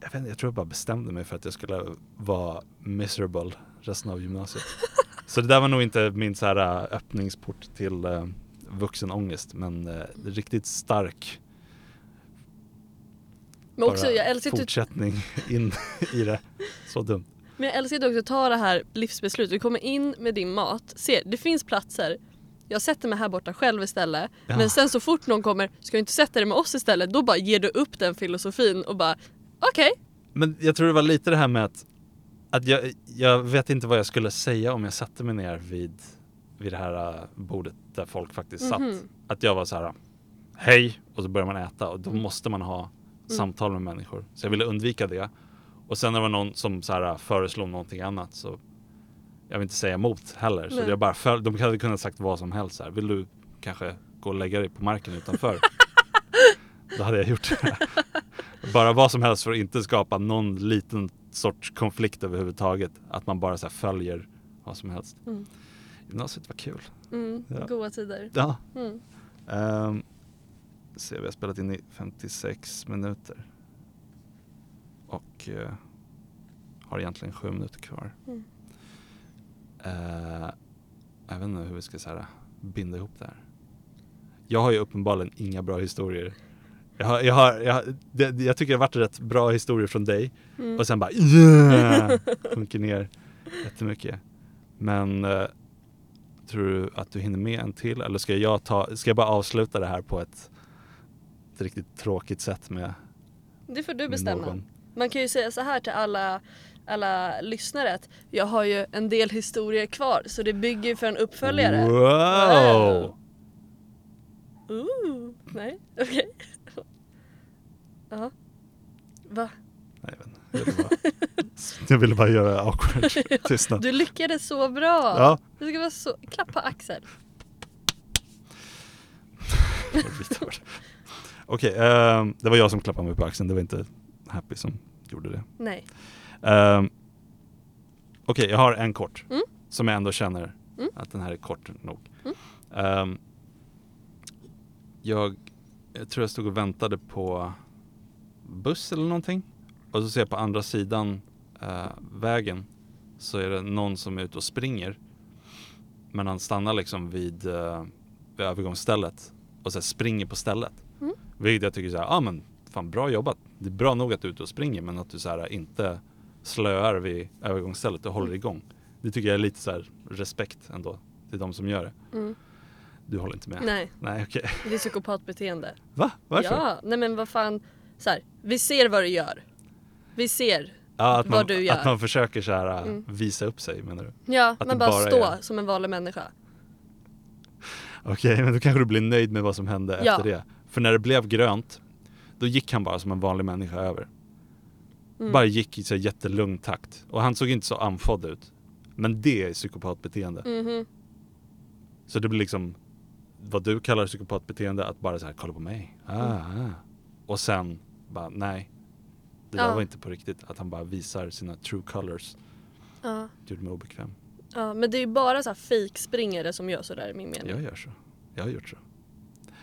A: Jag, vet inte, jag tror jag bara bestämde mig för att jag skulle vara miserable resten av gymnasiet. så det där var nog inte min så här äh, öppningsport till äh, vuxenångest men äh, riktigt stark
B: Men, också,
A: bara
B: jag älskar typ att du
A: fortsättning in i det. Så dumt.
B: Men jag älskar dock att du tar det här livsbeslutet. Du kommer in med din mat, ser det finns platser. Jag sätter mig här borta själv istället.
A: Ja.
B: Men sen så fort någon kommer, ska du inte sätta dig med oss istället? Då bara ger du upp den filosofin och bara okej.
A: Men jag tror det var lite det här med att, att jag, jag vet inte vad jag skulle säga om jag satte mig ner vid, vid det här äh, bordet där folk faktiskt satt.
B: Mhm.
A: Att jag var så här hej och så börjar man äta och då
B: Mm.
A: måste man ha samtal med människor. Så jag ville undvika det. Och sen när det var någon som så här, äh, föreslog någonting annat så jag vill inte säga emot heller. Så
B: Nej.
A: jag bara föl- de hade kunnat sagt vad som helst. Så här. Vill du kanske gå och lägga dig på marken utanför? då hade jag gjort det. bara vad som helst för att inte skapa någon liten sorts konflikt överhuvudtaget. Att man bara så här, följer vad som helst.
B: Mm.
A: Gymnasiet var kul.
B: Mm,
A: Ja.
B: Goda tider.
A: Ja.
B: Mm.
A: Um, se, vi har spelat in i 56 minuter. Och eh, har egentligen sju minuter kvar.
B: Mm.
A: Eh, jag vet inte hur vi ska så här, binda ihop det här. Jag har ju uppenbarligen inga bra historier. Jag, har, jag, har, jag, har, det, det- jag tycker det har varit rätt bra historier från dig
B: Mm.
A: och sen bara yeah! sjunker ner jättemycket. Men eh, tror du att du hinner med en till eller ska jag, ta, ska jag bara avsluta det här på ett, ett riktigt tråkigt sätt med,
B: Det får du
A: med
B: bestämma.
A: någon?
B: Man kan ju säga så här till alla, alla lyssnare att jag har ju en del historier kvar så det bygger ju för en uppföljare.
A: Wow!
B: Wow. Ooh, nej, okej. Ja. Va?
A: Nej, jag vet inte. Jag ville bara, jag ville bara göra awkward tystnad.
B: Du lyckades så bra!
A: Ja,
B: Du ska vara så... Klappa Axel.
A: vi tar det. Okej, ehm, det var jag som klappade mig på axeln. Det var inte Happy som gjorde det.
B: Nej.
A: Ehm, Okej, jag har en kort.
B: Mm.
A: Som jag ändå känner
B: Mm.
A: att den här är kort nog.
B: Mm.
A: Ehm, jag, jag tror jag stod och väntade på buss eller någonting. Och så ser jag på andra sidan eh, vägen så är det någon som är ute och springer. Men han stannar liksom vid, eh, vid övergångsstället och så här springer på stället.
B: Mm.
A: Vilket jag tycker så här, ah, men fan bra jobbat. Det är bra nog att du är ute och springer men att du så här inte slöar vid övergångsstället och
B: Mm.
A: håller igång. Det tycker jag är lite så här respekt ändå till de som gör det.
B: Mm.
A: Du håller inte med?
B: Nej,
A: Nej okej.
B: det är psykopatbeteende.
A: Va? Varför?
B: Ja, nej men vad fan. Så här, vi ser vad du gör. Vi ser.
A: Ja, att, man,
B: Vad du gör.
A: att man försöker så här äh,
B: Mm.
A: visa upp sig menar du?
B: Ja,
A: det
B: men bara,
A: bara
B: stå
A: är-
B: som en vanlig människa.
A: Okej, men då kanske du blir nöjd med vad som hände
B: Ja.
A: efter det. För när det blev grönt, då gick han bara som en vanlig människa över.
B: Mm.
A: Bara gick i så här jättelugn takt. Och han såg inte så andfådd ut. Men det är psykopatbeteende.
B: Mhm.
A: Så det blir liksom vad du kallar psykopatbeteende, att bara så här kolla på mig. Ah,
B: Mm.
A: ah. Och sen bara nej. Det där
B: Ja.
A: var inte på riktigt. Att han bara visar sina true colors.
B: Ja.
A: Det gjorde mig obekväm.
B: ja, men det är ju bara så här fejkspringare som gör sådär i min mening.
A: Jag gör så. Jag har gjort så.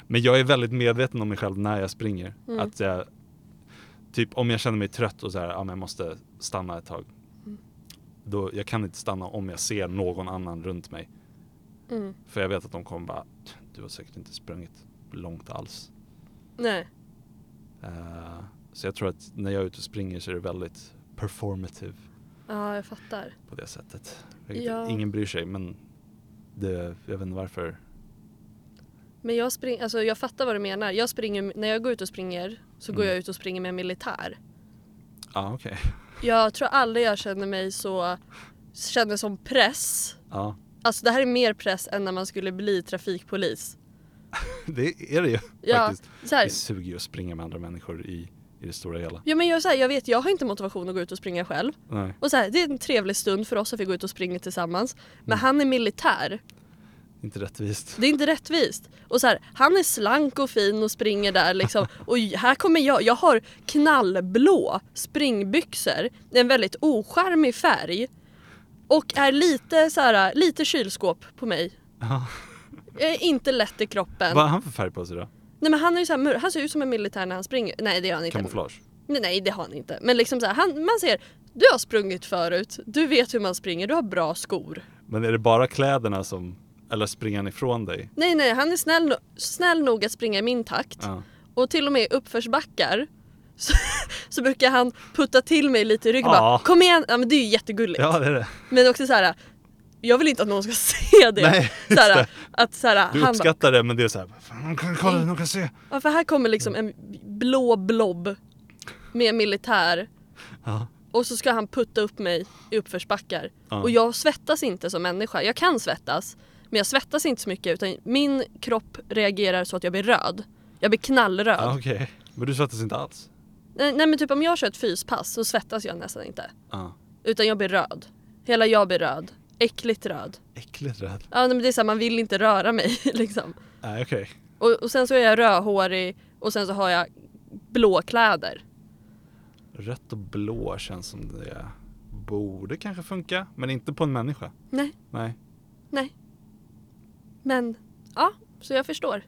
A: Men jag är väldigt medveten om mig själv när jag springer.
B: Mm.
A: Att jag, typ om jag känner mig trött och så här, ja men jag måste stanna ett tag.
B: Mm.
A: Då, jag kan inte stanna om jag ser någon annan runt mig.
B: Mm.
A: För jag vet att de kommer bara, du har säkert inte sprungit långt alls.
B: Nej.
A: Eh, Så jag tror att när jag är ute och springer så är det väldigt performative
B: Ja, jag fattar.
A: på det sättet. Vilket
B: Ja.
A: Ingen bryr sig men det, jag vet inte varför.
B: Men jag, spring, alltså jag fattar vad du menar. Jag springer, när jag går ut och springer så går
A: Mm.
B: jag ut och springer med militär.
A: Ja ah, okej.
B: Jag tror aldrig jag känner mig så, känner som press.
A: Ja,
B: Alltså det här är mer press än när man skulle bli trafikpolis.
A: det är det ju
B: Ja,
A: faktiskt.
B: så här,
A: Det suger ju att springa med andra människor i, i det stora hela.
B: ja men jag, så här, jag vet, jag har inte motivation att gå ut och springa själv.
A: Nej.
B: Och så här, det är en trevlig stund för oss att vi går ut och springer tillsammans.
A: Mm.
B: Men han är militär.
A: Inte rättvist.
B: Det är inte rättvist. Och så här, han är slank och fin och springer där liksom. Och här kommer jag. Jag har knallblå springbyxor. Det är en väldigt ocharmig färg. Och är lite så här, lite kylskåp på mig.
A: Ja.
B: Jag är inte lätt i kroppen.
A: Vad har han för färg på sig då?
B: Nej men han är ju så här, mör- han ser ut som en militär när han springer. Nej det gör han inte.
A: Kamouflage?
B: Nej, nej det har han inte. Men liksom så här, han, man ser, du har sprungit förut. Du vet hur man springer, du har bra skor.
A: Men är det bara kläderna som, eller springer han ifrån dig?
B: Nej nej, han är snäll, no- snäll nog att springa i min takt.
A: Ja.
B: Och till och med i uppförsbackar så, så brukar han putta till mig lite i ryggen
A: Ja.
B: bara Kom igen! Ja men det är ju jättegulligt.
A: ja, det är det.
B: Men också så här. Jag vill inte att någon ska se det.
A: Nej,
B: så här,
A: just
B: Att så här,
A: Du
B: han bara,
A: uppskattar det men det är såhär, fan kolla, kolla, de kan se.
B: ja, för här kommer liksom en blå blob med militär
A: Ja.
B: och så ska han putta upp mig i uppförsbackar.
A: Ja.
B: Och jag svettas inte som människa. Jag kan svettas, men jag svettas inte så mycket utan min kropp reagerar så att jag blir röd. Jag blir knallröd.
A: Ja, okej. Men du svettas inte alls?
B: Nej, nej men typ om jag kör ett fyspass så svettas jag nästan inte.
A: Ja.
B: Utan jag blir röd. Hela jag blir röd. Äckligt röd.
A: Äckligt rädd.
B: Ja nej, men det är så här, man vill inte röra mig liksom.
A: Nej okej.
B: Och, och sen så är jag rödhårig och sen så har jag blå kläder.
A: Rött och blå känns som det borde kanske funka, men inte på en människa.
B: Nej,
A: Nej.
B: nej. Men, ja. Så jag förstår.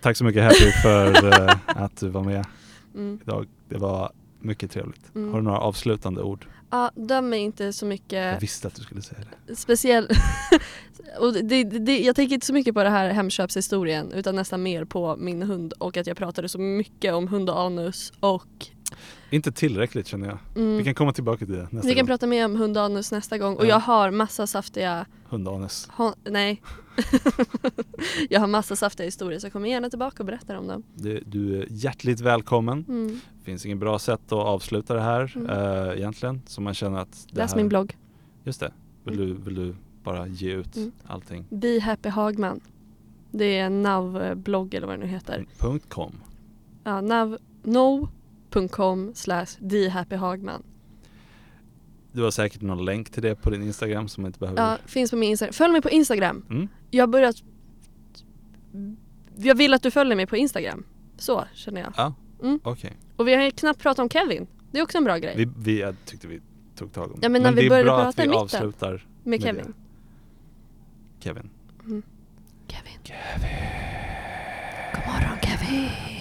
A: Tack så mycket Happy för eh, att du var med
B: Mm.
A: idag. Det var mycket trevligt.
B: Mm.
A: Har du några avslutande ord?
B: Ja, döm mig inte så
A: Jag
B: mycket
A: visste att du skulle säga det.
B: speciell... och det, det, jag tänker inte så mycket på det här hemköpshistorien utan nästan mer på min hund och att jag pratade så mycket om hund och anus och...
A: Inte tillräckligt känner jag.
B: Mm.
A: Vi kan komma tillbaka till det nästa
B: Vi kan
A: gång.
B: prata mer om hundanus nästa gång och
A: Ja.
B: jag har massa saftiga,
A: Hundanes.
B: hon, nej. jag har massa saftiga historier så jag kommer gärna tillbaka och berätta om dem.
A: Du, du är hjärtligt välkommen.
B: Mm.
A: Det finns ingen bra sätt att avsluta det här
B: Mm.
A: eh, egentligen. Så man känner att det
B: Läs
A: här...
B: min blogg,
A: Just det. Vill du, vill du bara ge ut
B: Mm.
A: allting?
B: Be Happy Hagman. Det är en NAV-blogg eller vad det nu heter.
A: Punkt .com.
B: Ja, nav.no.com slash thehappyhagman.
A: Du har säkert någon länk till det på din Instagram som jag inte behöver.
B: Ja, finns på min Instagram. Följ mig på Instagram.
A: Mm.
B: Jag har börjat... Jag vill att du följer mig på Instagram. Så känner jag.
A: Ja,
B: Mm.
A: okej.
B: Och vi har ju knappt pratat om Kevin. Det är också en bra grej.
A: Vi, vi jag tyckte vi tog tag om det.
B: Ja, men när vi
A: det är
B: började
A: bra
B: prata
A: att vi
B: i mitten.
A: avslutar
B: med
A: med
B: Kevin.
A: Kevin.
B: Kevin. God morgon Kevin.